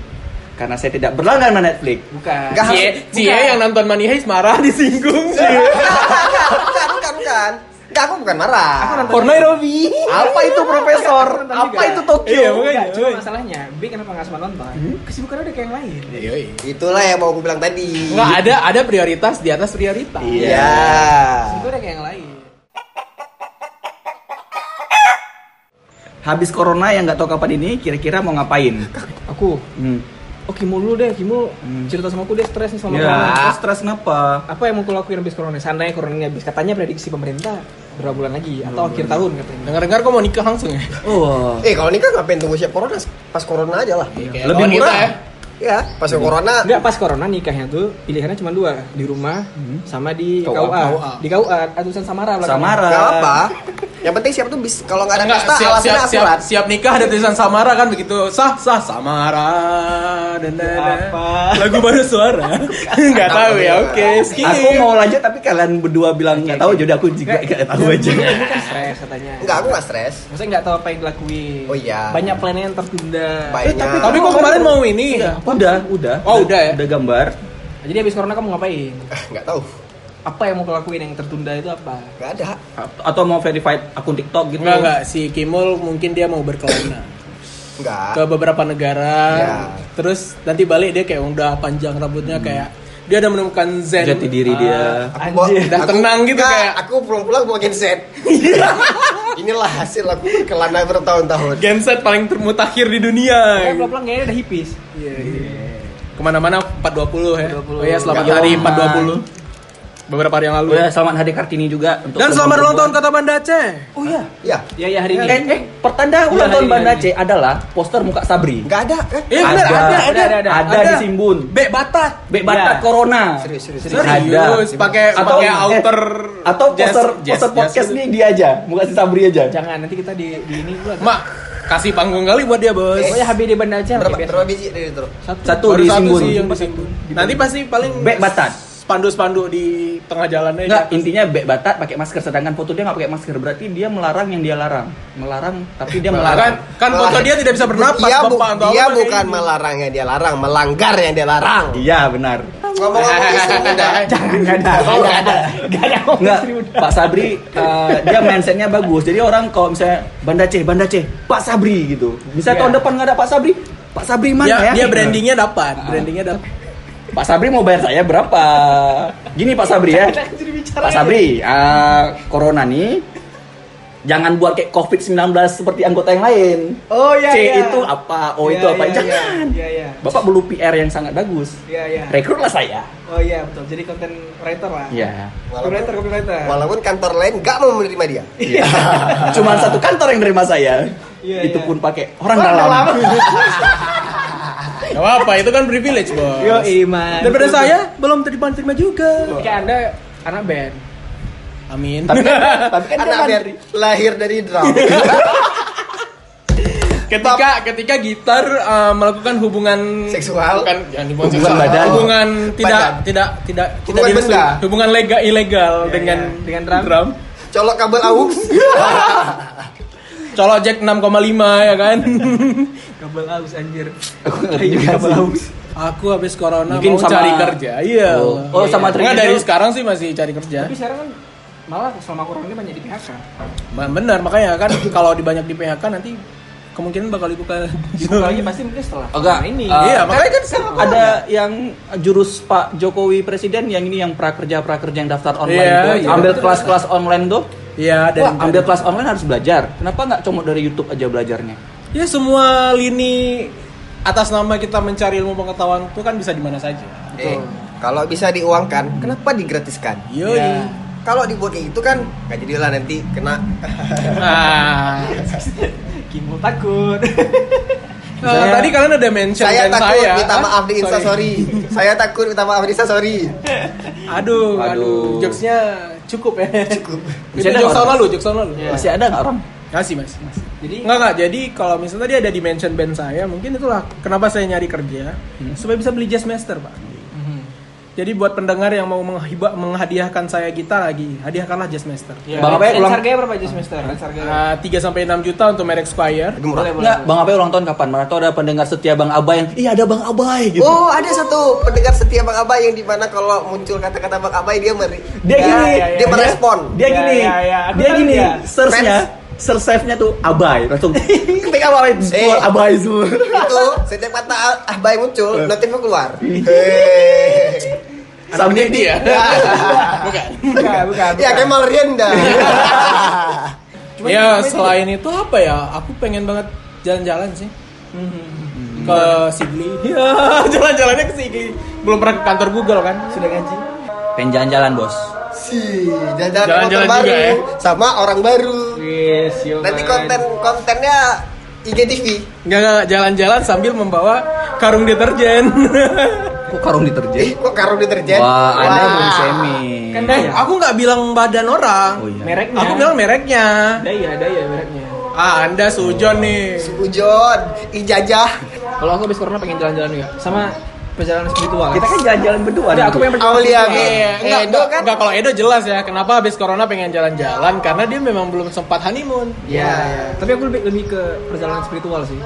D: Karena saya tidak berlangganan sama Netflix.
A: Bukan.
C: Nggak.
B: Cie,
C: harus-
B: Cie
A: bukan.
B: E, yang nonton Money Heist marah disinggung sih.
C: bukan, bukan, bukan. Nggak, aku bukan marah.
D: For Nairobi. Apa itu profesor?
A: Nonton juga.
D: Apa itu Tokyo?
B: Iya,
A: Nggak,
B: makanya.
A: cuma
B: woy.
A: masalahnya, B kenapa nggak sama nonton? Kesibukan udah kayak yang lain.
B: Yoi.
C: Itulah yang mau aku bilang tadi.
B: Nggak ada ada prioritas di atas prioritas.
C: Iya.
A: Kesibukan udah kayak yang lain.
D: Habis corona yang nggak tahu kapan ini kira-kira mau ngapain?
A: Aku,
D: Hmm.
A: oh Kimul dulu deh, Kimul
D: Hmm.
A: cerita sama aku deh stres
B: Iya.
A: nih sama
D: Ya, stres kenapa?
A: Apa yang mau aku lakuin habis corona? Seandainya corona ini habis, katanya prediksi pemerintah berapa bulan lagi atau akhir tahun katanya.
B: Dengar-dengar kok mau nikah langsung ya?
D: Oh.
C: Eh kalau nikah ngapain tunggu siap corona? Pas corona aja lah.
B: Kayak
D: Lebih
B: lawan kita
D: murah.
C: Ya, pas corona.
A: Enggak pas corona nikahnya tuh pilihannya cuma dua di rumah
D: Hmm.
A: sama di
D: KUA.
A: KUA. Di KUA atusan samara belakangnya.
D: Samara.
C: Gak apa. Yang penting siap tuh bis kalau nggak ada
B: Enggak,
C: pesta
B: siap, siap,
C: alasannya
B: siap,
C: akurat.
B: siap nikah ada tulisan Samara kan begitu sah sah Samara dan
A: Apa?
B: lagu baru suara nggak tahu ya oke skip
D: Aku mau lanjut tapi kalian berdua bilang nggak tahu jadi aku juga nggak tahu
B: Eh,
D: aja.
A: Kamu kan stres katanya.
C: Enggak, aku nggak stres.
A: Maksudnya nggak tahu apa yang dilakuin.
C: Oh, iya.
A: Banyak plannya yang tertunda.
D: Eh,
C: Banyak.
B: eh, tapi kok kemarin mau ini
D: Iya, Udah, udah.
B: Oh, udah ya?
D: Udah gambar.
A: Jadi habis corona kamu ngapain?
C: Eh, Nggak tahu.
A: Apa yang mau kau lakuin yang tertunda itu apa?
C: Nggak ada.
D: Atau mau verified akun TikTok gitu.
B: Enggak enggak si Kimul mungkin dia mau berkelana
C: Nggak.
B: ke beberapa negara.
C: Ya.
B: Terus nanti balik dia kayak udah panjang rambutnya kayak dia udah menemukan zen
D: Jati diri dia.
C: Aku
B: Ah.
C: bawa-
B: Anjir, dah tenang gitu
C: nggak,
B: kayak. Iya.
C: Aku pulang-pulang bawa genset. <laughs> Inilah hasil aku berkelana bertahun-tahun.
B: genset Ah. paling termutakhir di dunia.
A: Kayak pelan-pelan kayaknya udah hipis.
B: Iya, Kemana-mana 420 ya.
A: 420.
B: Oh ya selamat
D: Nggak
B: hari
D: lama.
B: 420. Beberapa hari yang lalu.
D: Udah, selamat hari Kartini juga untuk
B: Dan selamat
D: semua
B: ulang tahun
D: perempuan.
B: Kota Banda Aceh.
D: Oh iya.
C: Ya.
A: Ya ya hari ini.
D: Eh, eh, pertanda ulang
A: Iya,
D: tahun
A: iya,
D: Banda
A: iya.
D: C adalah poster muka Sabri.
C: Nggak ada kan?
B: Eh, bener,
D: Ada.
B: ada, ada,
A: Ada, ada,
D: Ada di Simbun.
B: Bek Batak.
D: Bek Batak
A: Iya.
D: Corona.
C: Serius, serius, serius.
B: Serius,
D: Ada.
B: pakai
D: Atau-
B: pakai outer
D: eh, atau
B: jas-
D: poster
B: jas-
D: poster
B: jas
D: podcast
B: gitu.
D: nih dia aja, bukan si Sabri aja.
A: Jangan nanti kita di, di ini dulu.
B: Mak, kasih panggung kali buat dia, Bos.
A: Pokoknya HBD Banda Aceh
B: Iya,
C: Berapa,
A: kayak biasa.
C: berapa biji dari itu?
A: Eh, Satu.
D: Satu
B: Baru
D: di
B: satu
D: Simbun.
B: sih yang di Simbun. Nanti pasti paling
D: Bek Batak.
B: Spandu-spandu di tengah jalannya.
D: Enggak,
B: gitu.
D: intinya bek batat pakai masker sedangkan foto dia nggak pakai masker berarti dia melarang yang dia larang. Melarang tapi dia
B: kan
D: melarang.
B: kan foto dia tidak bisa bernapas
C: Dia, Iya, bu-
B: Bapak atau
C: dia
B: apa,
C: bukan
B: kayak
C: melarang yang dia larang, melanggar yang dia larang.
D: Iya, benar.
B: <laughs>
C: Ngomong-ngomong istri muda.
A: Jangan nggak ada. Enggak ada. Enggak ada.
D: Enggak, Pak Sabri eh, dia mindsetnya bagus. Jadi orang kalau misalnya Banda C, Banda C, Pak Sabri gitu. Bisa
A: Iya.
D: tahun depan nggak ada Pak Sabri, Pak Sabri
B: Dia,
D: mana ya?
B: dia brandingnya dapat, brandingnya dapat.
D: Pak Sabri mau bayar saya berapa? Gini Pak Sabri ya.
A: Jadi bicara.
D: Pak Sabri, eh, corona nih jangan buat kayak COVID-19 seperti anggota yang lain.
A: Oh iya.
D: C
A: iya.
D: itu apa, O
B: Oh,
A: Iya,
D: itu apa.
A: iya,
D: jangan.
A: Iya iya.
D: Bapak perlu PR yang sangat bagus.
A: Iya iya.
D: Rekrutlah saya.
A: Oh iya betul. Jadi konten writer lah.
D: Iya.
A: Copywriter, copywriter.
C: Walaupun kantor lain nggak mau menerima dia.
D: Iya. <laughs> Cuman satu kantor yang nerima saya.
A: Iya,
D: itu
A: iya.
D: pun pakai orang dalam.
B: Gak apa-apa, itu kan privilege, Bos.
A: Yo iman.
B: Daripada saya belum terima juga.
A: Kayak anda anak band.
B: Amin. <laughs>
D: tapi kan,
B: Iya,
D: tapi kan dia
C: Anak biar
D: mandiri.
C: lahir dari drum.
B: ketika ketika gitar eh, melakukan hubungan
C: Seksual.
B: bukan jangan hubungan,
D: Hubungan
B: seksual.
D: badan.
B: hubungan tidak
C: Badan.
B: tidak tidak tidak
C: Hubungan
B: direstui.
C: benda.
B: hubungan legal ilegal
A: Iya,
B: dengan
A: iya. Dengan drum.
C: <laughs> Colok kabel aux.
B: colok jack 6,5 ya kan
A: Kabel aus anjir.
D: Aku <laughs> ngerti
A: Iya,
D: juga sih.
A: kan
B: aku habis corona
D: Mungkin
B: mau
D: sama-
B: cari kerja iya
D: Oh, oh,
B: Iya.
D: sama
B: Nggak,
D: Trigger.
B: dari sekarang sih masih cari kerja
A: Tapi sekarang kan
B: <laughs>
A: malah selama corona ini kan banyak di PHK.
B: Nah, kan <coughs> Ba- benar makanya kan kalau di banyak di PHK nanti kemungkinan bakal dibuka
A: Dibuka lagi pasti mungkin setelah
D: Agak
A: ini.
D: eh,
B: Iya,
D: karena
B: makanya
D: kan ada yang jurus Pak Jokowi presiden yang ini yang prakerja prakerja yang daftar online
B: Iya,
D: tuh,
B: iya.
D: ambil kelas-kelas online tuh.
B: Iya
D: Wah,
B: dan
D: ambil kelas online harus belajar. Kenapa nggak comot dari YouTube aja belajarnya?
B: ya semua lini atas nama kita mencari ilmu pengetahuan itu kan bisa di mana saja.
C: Eh, kalau bisa diuangkan, kenapa digratiskan?
B: Yoi.
D: Iya.
C: Kalau dibuat kayak gitu kan, nggak jadilah nanti kena.
B: Ah.
A: Kimbo
B: <laughs>
A: takut.
B: Eh, tadi kalian udah mention
C: saya
B: band
C: takut
B: saya.
C: minta
B: Ah,
C: maaf di Insta
B: sorry.
C: sorry. saya takut minta maaf di Insta sorry.
B: Aduh, aduh,
D: Aduh.
B: jokesnya cukup ya. Cukup. Itu
D: Bisa ada
B: jokes tahun
D: orang.
B: lalu, jokes tahun lalu.
A: Iya.
D: Masih ada nggak orang?
B: Kasih mas, mas.
A: Jadi
B: Enggak enggak. Jadi kalau misalnya tadi ada di mention band saya, mungkin itulah kenapa saya nyari kerja
A: Hmm.
B: supaya bisa beli jazz master pak.
A: Mhm.
B: Jadi buat pendengar yang mau menghibah menghadiahkan saya gitar lagi, hadiahkanlah jazz master.
A: Ya,
B: Eh,
D: Bang, apa ya,
A: range
D: ulang-
A: harganya berapa aja semester? Range harganya.
B: Tiga sampai enam juta untuk merek Squire.
C: Aduh, murah.
A: Boleh, boleh. <laughs>
D: Nggak, Bang Abai ulang tahun kapan? Mana tau ada pendengar setia Bang Abai yang, iya ada Bang Abai gitu.
C: Oh, ada satu pendengar setia Bang Abai yang dimana kalau muncul kata-kata Bang Abai dia meri.
D: Dia
C: Ya,
D: gini,
C: dia, merespon.
A: Ya,
D: Dia gini,
A: ya, ya. Aku
D: dia
A: tahu
D: gini,
A: dia.
D: search-nya, search save-nya tuh Abai.
A: <laughs>
D: Langsung ketik Abai,
C: Eh.
D: keluar Abai semua.
C: itu setiap kata A- Abai muncul, notifnya keluar. Hei.
D: Sampai
B: ya?
D: dia.
A: ya? Bukan,
B: Iya,
A: bukan.
C: ya Kemal Rienda.
A: Cuma itu
B: ya
A: namanya
B: selain itu apa ya? Aku pengen banget jalan-jalan sih
A: Hmm.
B: ke Sigli. Ya, <laughs> jalan-jalannya ke Sigli. Belum pernah ke kantor Google kan?
A: Sudah gaji.
D: Pengen jalan-jalan bos.
C: si jalan-jalan ke motor
B: Jalan-jalan juga,
C: baru
B: ya.
C: sama orang baru.
A: Yes, yo.
C: Nanti konten kontennya IGTV.
B: Enggak enggak jalan-jalan sambil membawa karung deterjen. <laughs>
D: Kok karung
C: Eh,
D: diterjang?
C: kok karung deterjen?
D: Wah, anda belum semi.
A: Kan
B: eh, aku nggak bilang badan orang.
D: Oh, iya.
A: Mereknya.
B: Aku bilang mereknya.
A: Daya, daya mereknya.
B: Ah, Anda sujon nih.
C: Ujon, ijajah.
A: Kalau aku habis corona pengen jalan-jalan juga. Sama perjalanan spiritual.
D: Kita kan jalan-jalan berdua.
A: Udah, aku pengen perjalanan
C: Aulia,
A: spiritual.
C: Bi.
B: Iya, enggak,
C: Edo
B: enggak,
C: kan?
B: enggak, kalau Edo jelas ya. Kenapa habis corona pengen jalan-jalan? Karena dia memang belum sempat honeymoon.
A: Iya,
C: Iya.
A: tapi aku lebih lebih ke perjalanan spiritual sih.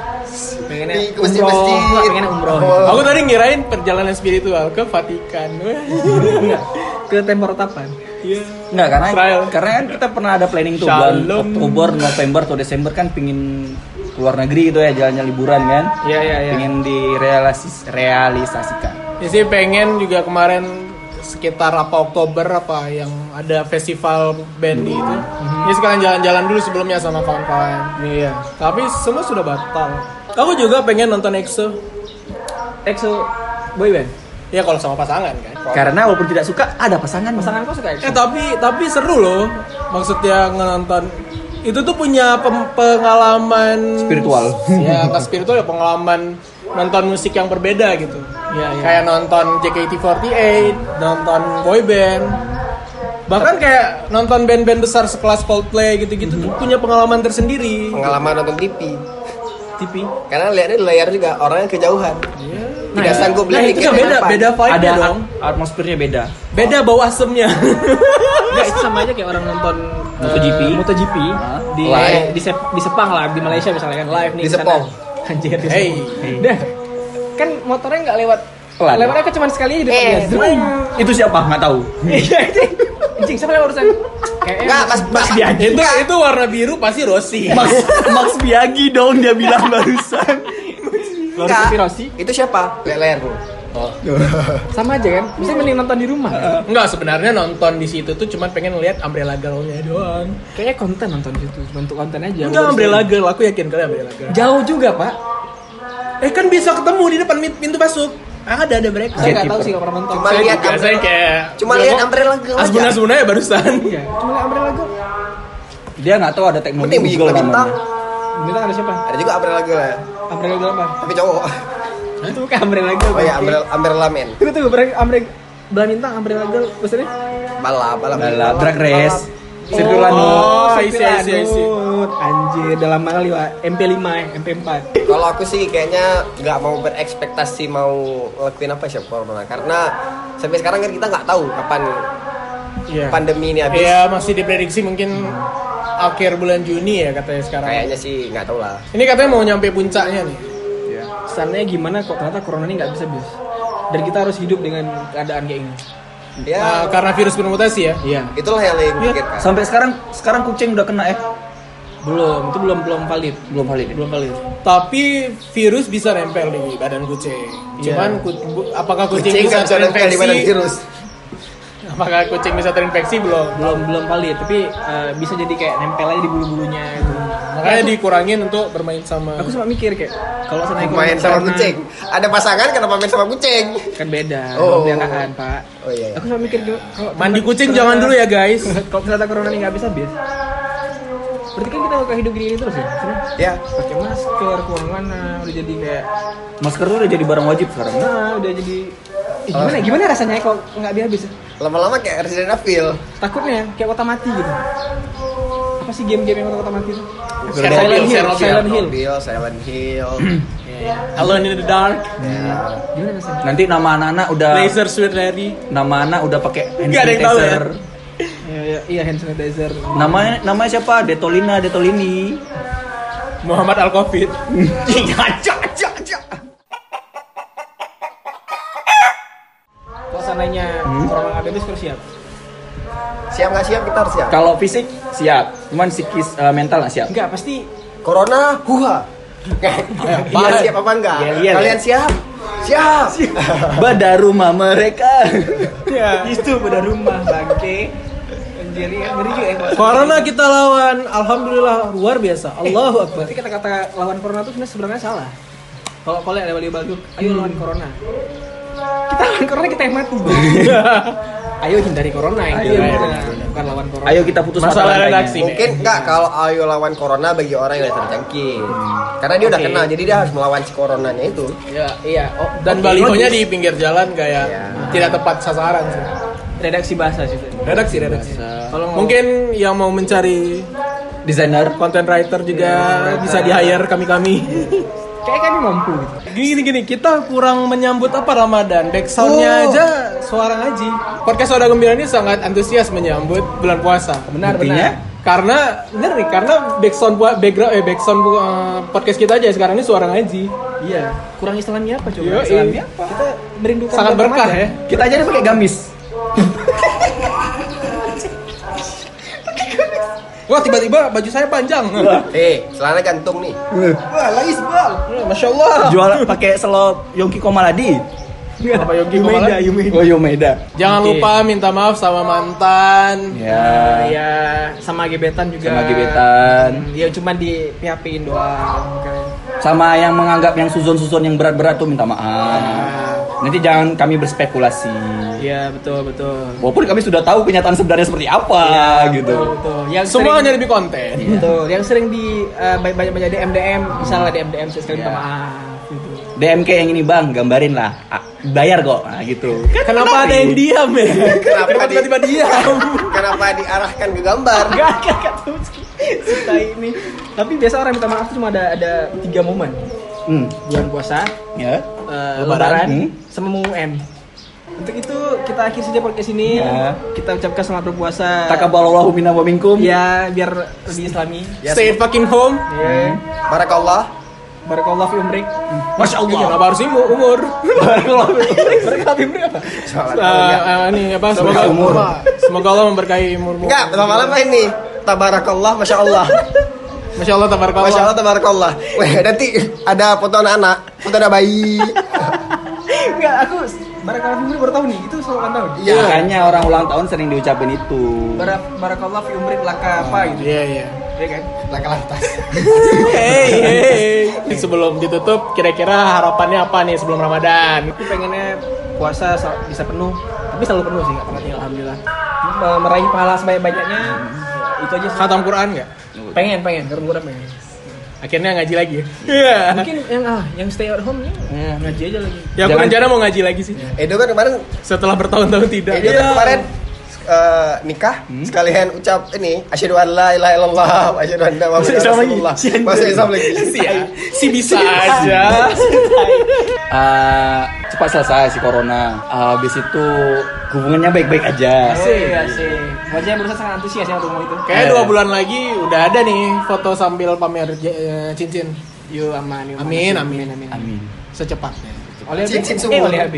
A: Pengennya
C: Di- ke
A: umroh,
C: masjid-masjid.
A: enggak, pengennya umroh.
C: Oh.
B: Aku tadi ngirain perjalanan spiritual ke Vatikan. <laughs>
A: Enggak, ke Tempor Tapan.
B: Iya.
D: Nggak, karena
B: Trial.
D: karena kan kita pernah ada planning tuh bulan
B: Shalom.
D: Oktober, November atau Desember kan pingin keluar negeri gitu ya jalannya liburan kan.
A: Iya, iya, iya.
D: Pingin direalisis realisasikan.
B: Ya sih pengen juga kemarin sekitar apa Oktober apa yang ada festival band itu.
C: Mm-hmm.
B: Ya sekalian jalan-jalan dulu sebelumnya sama kawan-kawan.
A: Iya.
B: Tapi semua sudah batal. Aku juga pengen nonton EXO.
A: EXO boyband.
B: Ya kalau sama pasangan kan.
D: Karena walaupun tidak suka ada pasangan.
A: Pasangan kau suka EXO?
B: Eh tapi tapi seru loh. Maksudnya nonton itu tuh punya pem- pengalaman
D: Spiritual.
B: Ya nggak spiritual ya pengalaman nonton musik yang berbeda gitu.
A: Iya, iya.
B: Kayak nonton JKT48, nonton boyband. Bahkan kayak nonton band-band besar sekelas Coldplay gitu-gitu tuh punya pengalaman tersendiri.
C: Pengalaman nonton TV.
B: TV.
C: Karena lihatnya di layar juga orangnya kejauhan. Tidak sanggup
B: Iya. Nah,
C: beli
B: itu
C: tiket
B: kan beda,
C: depan.
B: beda vibe
D: ada
B: dong.
D: at- atmosfernya beda.
B: Beda bau asemnya.
A: Enggak, itu sama aja kayak orang nonton eh,
D: MotoGP.
A: MotoGP
D: Hah?
A: di,
C: Live.
A: di Sep- di Sepang lah, di Malaysia misalnya kan live nih
C: Di
A: sana.
C: Sepang.
A: Anjir, di
B: Hey.
A: Sepang. Dah. Kan motornya enggak lewat
D: Pelan.
A: Lewatnya kan cuma sekali aja di depan
C: Eh,
A: dia. Zoom.
D: Itu siapa? Nggak tahu.
A: Iya, anjing. Anjing, siapa yang urusan? Kayak
C: Enggak, Mas Mas
D: Biagi.
B: <laughs> itu itu warna biru pasti Rossi.
D: Max, <laughs> Max Biagi dong dia bilang barusan.
A: Lawrence
C: Enggak.
A: Inspirasi.
C: Itu siapa? Lihat layar lu.
A: sama aja kan. Bisa mending nonton di rumah. kan?
B: Enggak sebenarnya nonton di situ tuh cuman pengen lihat Umbrella Girl-nya doang.
A: Kayaknya konten nonton itu, cuma untuk konten aja.
B: Enggak
A: Baru
B: Umbrella Girl, aku yakin kalian Umbrella Girl.
A: sekali. Jauh juga, Pak.
B: Eh kan bisa ketemu di depan min- pintu masuk. Ada ada mereka.
A: Saya enggak tahu sih kalau pernah nonton.
C: Cuma lihat
B: Saya
C: umbrella-
B: Iya, kayak
C: Cuma lihat umbrella girl
B: Asbun
C: aja.
B: Asbun ya barusan.
A: Iya, cuma lihat Umbrella Girl.
D: Dia nggak tahu ada teknologi
C: Penting bunyi
D: Google
C: bintang.
D: namanya.
A: Bintang ada siapa?
C: Ada juga umbrella girl ya.
A: Umbrella Girl apa?
C: Tapi cowok.
A: Itu bukan Umbrella Girl.
C: Oh ya,
A: Bang.
C: umbrella, umbrella man.
A: Itu tuh Umbrella Umbrella Belah bintang Umbrella Girl maksudnya?
C: Balap, balap.
D: Balap, drag race, anu. sirkuit
B: Oh.
D: lanut.
B: I see, I see, I see.
A: Lanut. Anjir, udah lama kali Wak. MP5 ya, MP4.
C: Kalau aku sih kayaknya nggak mau berekspektasi mau ngelakuin apa sih corona karena sampai sekarang kan kita nggak tahu kapan
B: Iya.
C: pandemi ini habis.
B: Iya, masih diprediksi mungkin akhir bulan Juni ya katanya sekarang.
C: Kayaknya sih nggak tahu lah.
B: Ini katanya mau nyampe puncaknya nih.
A: Kesannya gimana kok ternyata corona ini nggak bisa bis. Dan kita harus hidup dengan keadaan kayak ini.
C: Ya,
B: Ah, karena virus bermutasi ya.
A: Iya.
C: itulah yang lagi
D: Iya,
C: pikirkan.
D: Sampai sekarang sekarang kucing udah kena ya.
B: Belum, itu belum belum valid.
D: Belum valid ya?
B: Belum valid. Tapi virus bisa nempel di badan kucing.
D: Iya.
B: Cuman ku- bu- apakah kucing,
C: Kucing
B: bisa
C: kan sudah nempel di badan
B: terinfeksi?
C: virus.
B: Apakah kucing bisa terinfeksi belum?
A: belum belum valid tapi eh, bisa jadi kayak nempel aja di bulu bulunya gitu
B: Makanya dikurangin untuk bermain sama
A: aku sempat mikir kayak kalau sana
C: Main sama kucing. Ada pasangan kenapa main sama kucing?
A: kan beda
C: Oh.
A: oh. diangkatan pak
C: Oh iya. iya.
A: aku sempat mikir dulu kalau
B: mandi kucing jangan dulu ya guys.
A: <laughs> kalau ternyata corona ini nggak habis habis berarti kan kita bakal hidup gini terus ya Sebenarnya
C: Ya.
A: pakai masker keluar mana udah jadi kayak
D: Masker tuh udah jadi barang wajib sekarang.
A: nah udah jadi Eh, gimana
C: Ah.
A: gimana rasanya kalau nggak ya? habis habis
C: Lama-lama kayak Resident Evil.
A: takutnya kayak kota mati gitu apa sih game-game yang kota kota mati itu
B: Silent Hill, Silent
A: Hill.
C: Hill, Silent Hill. <clears throat>
B: Alone in the dark,
C: Ya.
A: gimana rasanya
D: Nanti nama anak-anak udah
B: laser sweet lady.
D: nama anak udah pakai hand
B: Nggak ada yang tahu ya?
D: sanitizer.
A: iya iya, iya hand sanitizer
D: Namanya namanya siapa? Detolina, Detolini.
B: Muhammad Al <laughs> Covid.
A: kalau sananya
B: Hmm?
A: orang nggak habis terus siap
C: Siap nggak siap kita harus siap.
D: Kalau fisik siap, cuman psikis eh, mental
B: <laughs>
D: nggak siap.
A: enggak pasti
C: Corona, huha. Iya siap apa enggak?
D: Iya, iya,
C: Kalian siap? Siap.
D: Beda rumah mereka. <laughs>
A: ya <laughs> itu pada rumah bangke anjir ya ngeri juga ya Mas.
B: Corona kita lawan, alhamdulillah luar biasa. Allahu akbar.
A: berarti kata-kata lawan corona itu sebenarnya sebenarnya salah kalau kalau ada Wali Balduk ayo
B: Hmm.
A: lawan corona kita lawan corona kita yang
B: <laughs>
A: mati ayo hindari corona yang
D: Ayo,
A: kita-
D: ayo,
A: bukan lawan corona
D: Ayo kita putus mata
B: Masalah
D: rantainya.
B: redaksi.
C: Mungkin enggak kalau ayo lawan corona bagi orang yang udah terjangkit. Karena dia udah
A: Oke.
C: kena, jadi dia harus melawan si coronanya itu.
A: ya iya oh
B: Dan
A: oke,
B: balihonya
A: logis.
B: di pinggir jalan kayak
C: Iya.
B: tidak tepat sasaran sih.
A: redaksi bahasa sih tadi.
B: Redaksi, redaksi.
A: kalau mau-
B: Mungkin yang mau mencari
D: Desainer.
B: content writer juga bisa di hire kami kami.
A: kayak kami mampu gitu
B: gini gini kita kurang menyambut apa Ramadan. Backsoundnya
A: Oh.
B: aja suara ngaji. Podcast Soda Gembira ini sangat antusias menyambut bulan puasa.
A: benar
D: Buktinya?
A: benar
B: Karena bener nih, karena backsound bu- background eh backsound uh, podcast kita aja sekarang ini suara ngaji.
A: iya kurang Islamnya apa coba
B: Yoi.
A: Islamnya apa kita merindukan
B: Sangat
A: bulan
B: berkah
A: Ramadan.
B: ya.
D: Kita aja nih pakai gamis.
B: Wah tiba-tiba baju saya panjang.
C: Eh, celana gantung nih.
A: wah lais bal
B: <laughs> Masya Allah.
D: Jual pakai selop Yongki Komaladi.
B: Apa ya. Yogi
A: Yumeda,
B: Komalan?
A: Yumeda.
D: Oh, Yomeda.
B: Jangan
A: Oke.
B: lupa minta maaf sama mantan. iya.
D: Ya.
A: ya sama gebetan juga
D: Sama gebetan.
A: Hmm, ya cuman di PHP-in doang kan.
D: Sama yang menganggap yang suzon-suzon yang berat-berat tuh minta maaf.
B: Ah.
D: Nanti jangan kami berspekulasi.
A: Iya betul betul.
D: Walaupun kami sudah tahu kenyataan sebenarnya seperti apa
B: Iya,
D: gitu.
A: Betul, betul. Yang
B: Semua hanya
A: sering,
B: demi konten.
A: betul. Yang sering di eh, banyak banyak banyak DM DM, misalnya DM DM saya sekali
D: Iya.
A: minta maaf gitu.
D: DMK yang ini bang, gambarin lah. Ah, bayar kok, nah, gitu.
B: Kenapa ada yang diam ya?
C: Kenapa
B: Kenapa
C: di-
B: tiba-tiba diam?
C: Kenapa diarahkan ke gambar?
A: Gak gak gak tahu sih. si tai ini. Tapi biasa orang minta maaf tuh cuma ada ada tiga momen.
D: Hmm,
A: Bulan puasa,
D: ya.
A: eh,
D: Lebaran.
A: lebaran,
D: Hmm.
A: sama UM. Untuk itu kita akhir saja podcast ini.
D: Iya.
A: Kita ucapkan selamat berpuasa.
D: Takabalallahu minna wa minkum.
A: Ya,
B: Iya.
A: biar lebih islami.
C: Ya,
B: Stay fucking home.
A: Ya. Hmm.
C: Barakallah.
A: Barakallah fi umrik.
B: Eh,
D: Masya Allah.
B: Kenapa harus umur? umur?
A: Barakallah fi umrik apa?
C: Sholat.
B: Eh, eh, ini apa? Semoga
D: umur.
B: Semoga Allah memberkahi umurmu.
C: Enggak, lama-lama ini. Tabarakallah, masya Allah.
B: Masya Allah tabarakallah.
C: Masya Allah, tabarakallah. Weh, nanti ada foto anak-anak, foto anak bayi.
A: Enggak, aku barakallah fi umrik baru tahu nih. Itu selalu kan tahu.
C: Iya.
D: Makanya orang ulang tahun sering diucapin itu.
A: Barak barakallah fi umrik laka apa gitu.
B: Iya iya.
A: Ya kan? Laka lantas.
B: Hey, hey. Sebelum ditutup, kira-kira harapannya apa nih sebelum Ramadan?
A: Aku pengennya puasa sel- bisa penuh, tapi selalu penuh sih, nggak pernah tinggal alhamdulillah. Me- Meraih pahala sebanyak-banyaknya. ya, Itu aja sih.
B: Khatam Quran nggak?
A: Pengen, pengen, karena gue pengen.
B: Akhirnya ngaji lagi. <laughs> Iya.
A: Mungkin yang ah, yang stay at home ya. Ngaji aja lagi.
B: Ya aku
D: Jangan-
B: rencana mau ngaji lagi sih.
C: Edo kan kemarin,
B: Setelah bertahun-tahun tidak.
C: Edo kan kemarin eh, nikah
B: Hmm.
C: sekalian ucap ini asyhadu an la ilaha illallah wa asyhadu anna muhammadan
B: Masuk Islam lagi.
C: rasulullah masuk Islam lagi
B: Si, ya. si bisa aja.
D: Ah, cepat selesai si corona. Ah, Habis itu hubungannya baik-baik aja.
A: Asik, asik. Wajahnya berusaha sangat antusias ya untuk mau itu.
B: Kayaknya dua bulan lagi udah ada nih foto sambil pamer eh, cincin.
A: Yo aman, yo
B: Amin, amin,
D: Amin.
B: Secepatnya.
A: Oleh
C: Cincin
A: cincin
C: sumur.
A: Eh, oleh HB.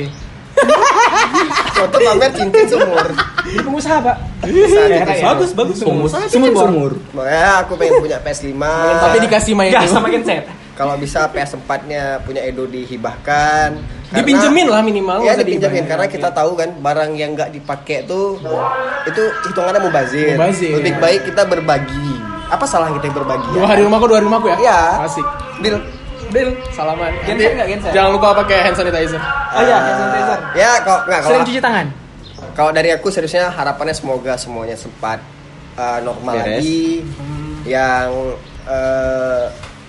C: foto pamer cincin sumur
E: Jadi pengusaha, Pak.
C: Saat itu
E: Kayak- gitu.
D: Bagus, bagus. Pengusaha
E: Sumur
D: kan
E: bor.
D: sumur.
C: Makanya aku pengen punya PS5
B: Tapi dikasih main
A: Iya,
E: Gas
B: dulu.
E: sama genset.
C: Kalau bisa PS4 nya punya Edo dihibahkan Karena-
B: Dipinjemin lah minimal.
C: Iya
B: masa
C: dipinjemin
B: dibayar.
C: karena kita tahu kan barang yang nggak dipakai tuh itu hitungannya mubazir.
B: Mubazir.
C: Lebih baik kita berbagi. Apa salah kita yang berbagi?
B: dua hari rumahku dua hari rumahku ya.
C: Iya.
B: Asik.
C: Deal.
B: Deal. Salaman.
E: Genset nggak, genset?
B: Jangan lupa pakai hand sanitizer. Ah.
E: Oh iya, hand sanitizer.
C: Ya kalau nggak kalau
E: Sering cuci tangan.
C: kalau dari aku seriusnya harapannya semoga semuanya sempat eh, normal
D: Beres.
C: lagi.
E: Hmm.
C: Yang eh,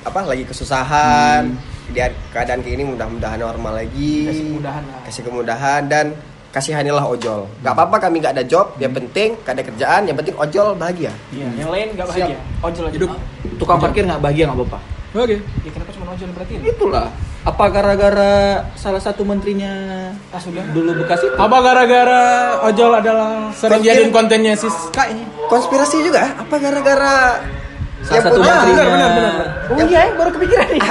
C: apa lagi kesusahan.
D: Hmm.
C: Dia keadaan kayak ini mudah-mudahan normal lagi.
E: Kasih kemudahan lah.
C: Kasih kemudahan dan kasihanilah ojol. Gak
D: Hmm.
C: apa-apa kami nggak ada job, yang penting gak ada kerjaan, yang penting ojol bahagia.
E: Iya, yang lain nggak bahagia. Ojol aja.
D: Ya. Hidup tukang parkir nggak bahagia nggak apa-apa.
B: Oke.
E: Ya kenapa cuma ojol berarti? ini?
D: Itulah. Apa gara-gara salah satu menterinya
E: Ah, sudah.
D: dulu bekas itu?
B: Apa gara-gara ojol adalah
C: Konten.
B: sering jadiin kontennya Siska ini?
C: konspirasi juga eh? apa gara-gara
D: Salah satu
C: punya-
D: menterinya.
E: Oh iya, baru kepikiran nih.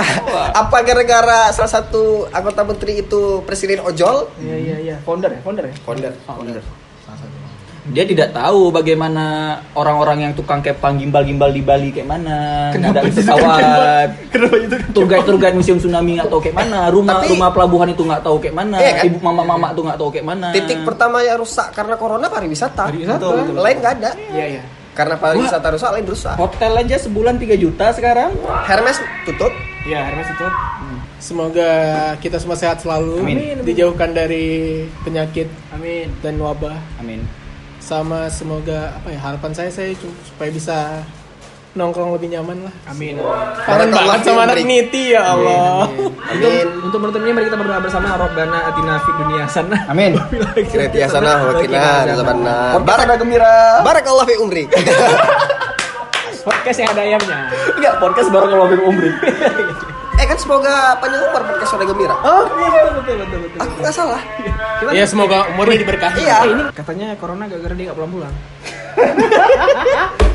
C: apa gara-gara salah satu anggota menteri itu presiden ojol
E: Iya, iya, iya. Founder ya, founder ya.
C: founder
D: Dia tidak tahu bagaimana orang-orang yang tukang kepang gimbal-gimbal di Bali kayak mana, ada pesawat,
B: Kenapa itu?
D: tour guide tour guide museum tsunami nggak tahu kayak mana, rumah
C: Tapi-
D: rumah pelabuhan itu nggak tahu kayak mana,
C: Iya kan?
D: ibu mama mama itu nggak tahu kayak mana.
C: titik pertama yang rusak karena corona pariwisata,
E: Pariwisata.
C: Betul, betul. lain nggak ada
E: Iya, iya.
C: karena pariwisata rusak lain rusak
D: Hotel aja sebulan 3 juta sekarang.
C: Hermes tutup
E: Iya, Hermes itu.
B: Semoga kita semua sehat selalu,
D: Amin.
B: dijauhkan dari penyakit
E: Amin.
B: dan wabah,
D: Amin.
B: sama semoga apa ya harapan saya saya cu- supaya bisa nongkrong lebih nyaman lah.
E: Amin.
B: Kangen
C: Barakallah
B: banget sama
C: fi
B: anak
C: umrik.
B: niti ya Allah.
C: amin
E: Untuk menutup ini mari kita berdoa bersama Robbana atina fid dunia hasanah.
D: Amin.
C: Kreatia sana wakina dalamana
D: Podcast ada
C: barak
D: gembira.
C: barakallah fi umri <laughs>
E: Podcast yang ada ayamnya.
D: Enggak, podcast baru kalau Bim Umri.
C: eh kan semoga panjang umur podcast suara gembira
E: Oh, betul betul betul betul.
C: aku nggak salah
E: Kita
B: Ya semoga umurnya diberkahi.
C: iya
E: Eh, ini katanya corona gara-gara dia nggak pulang-pulang.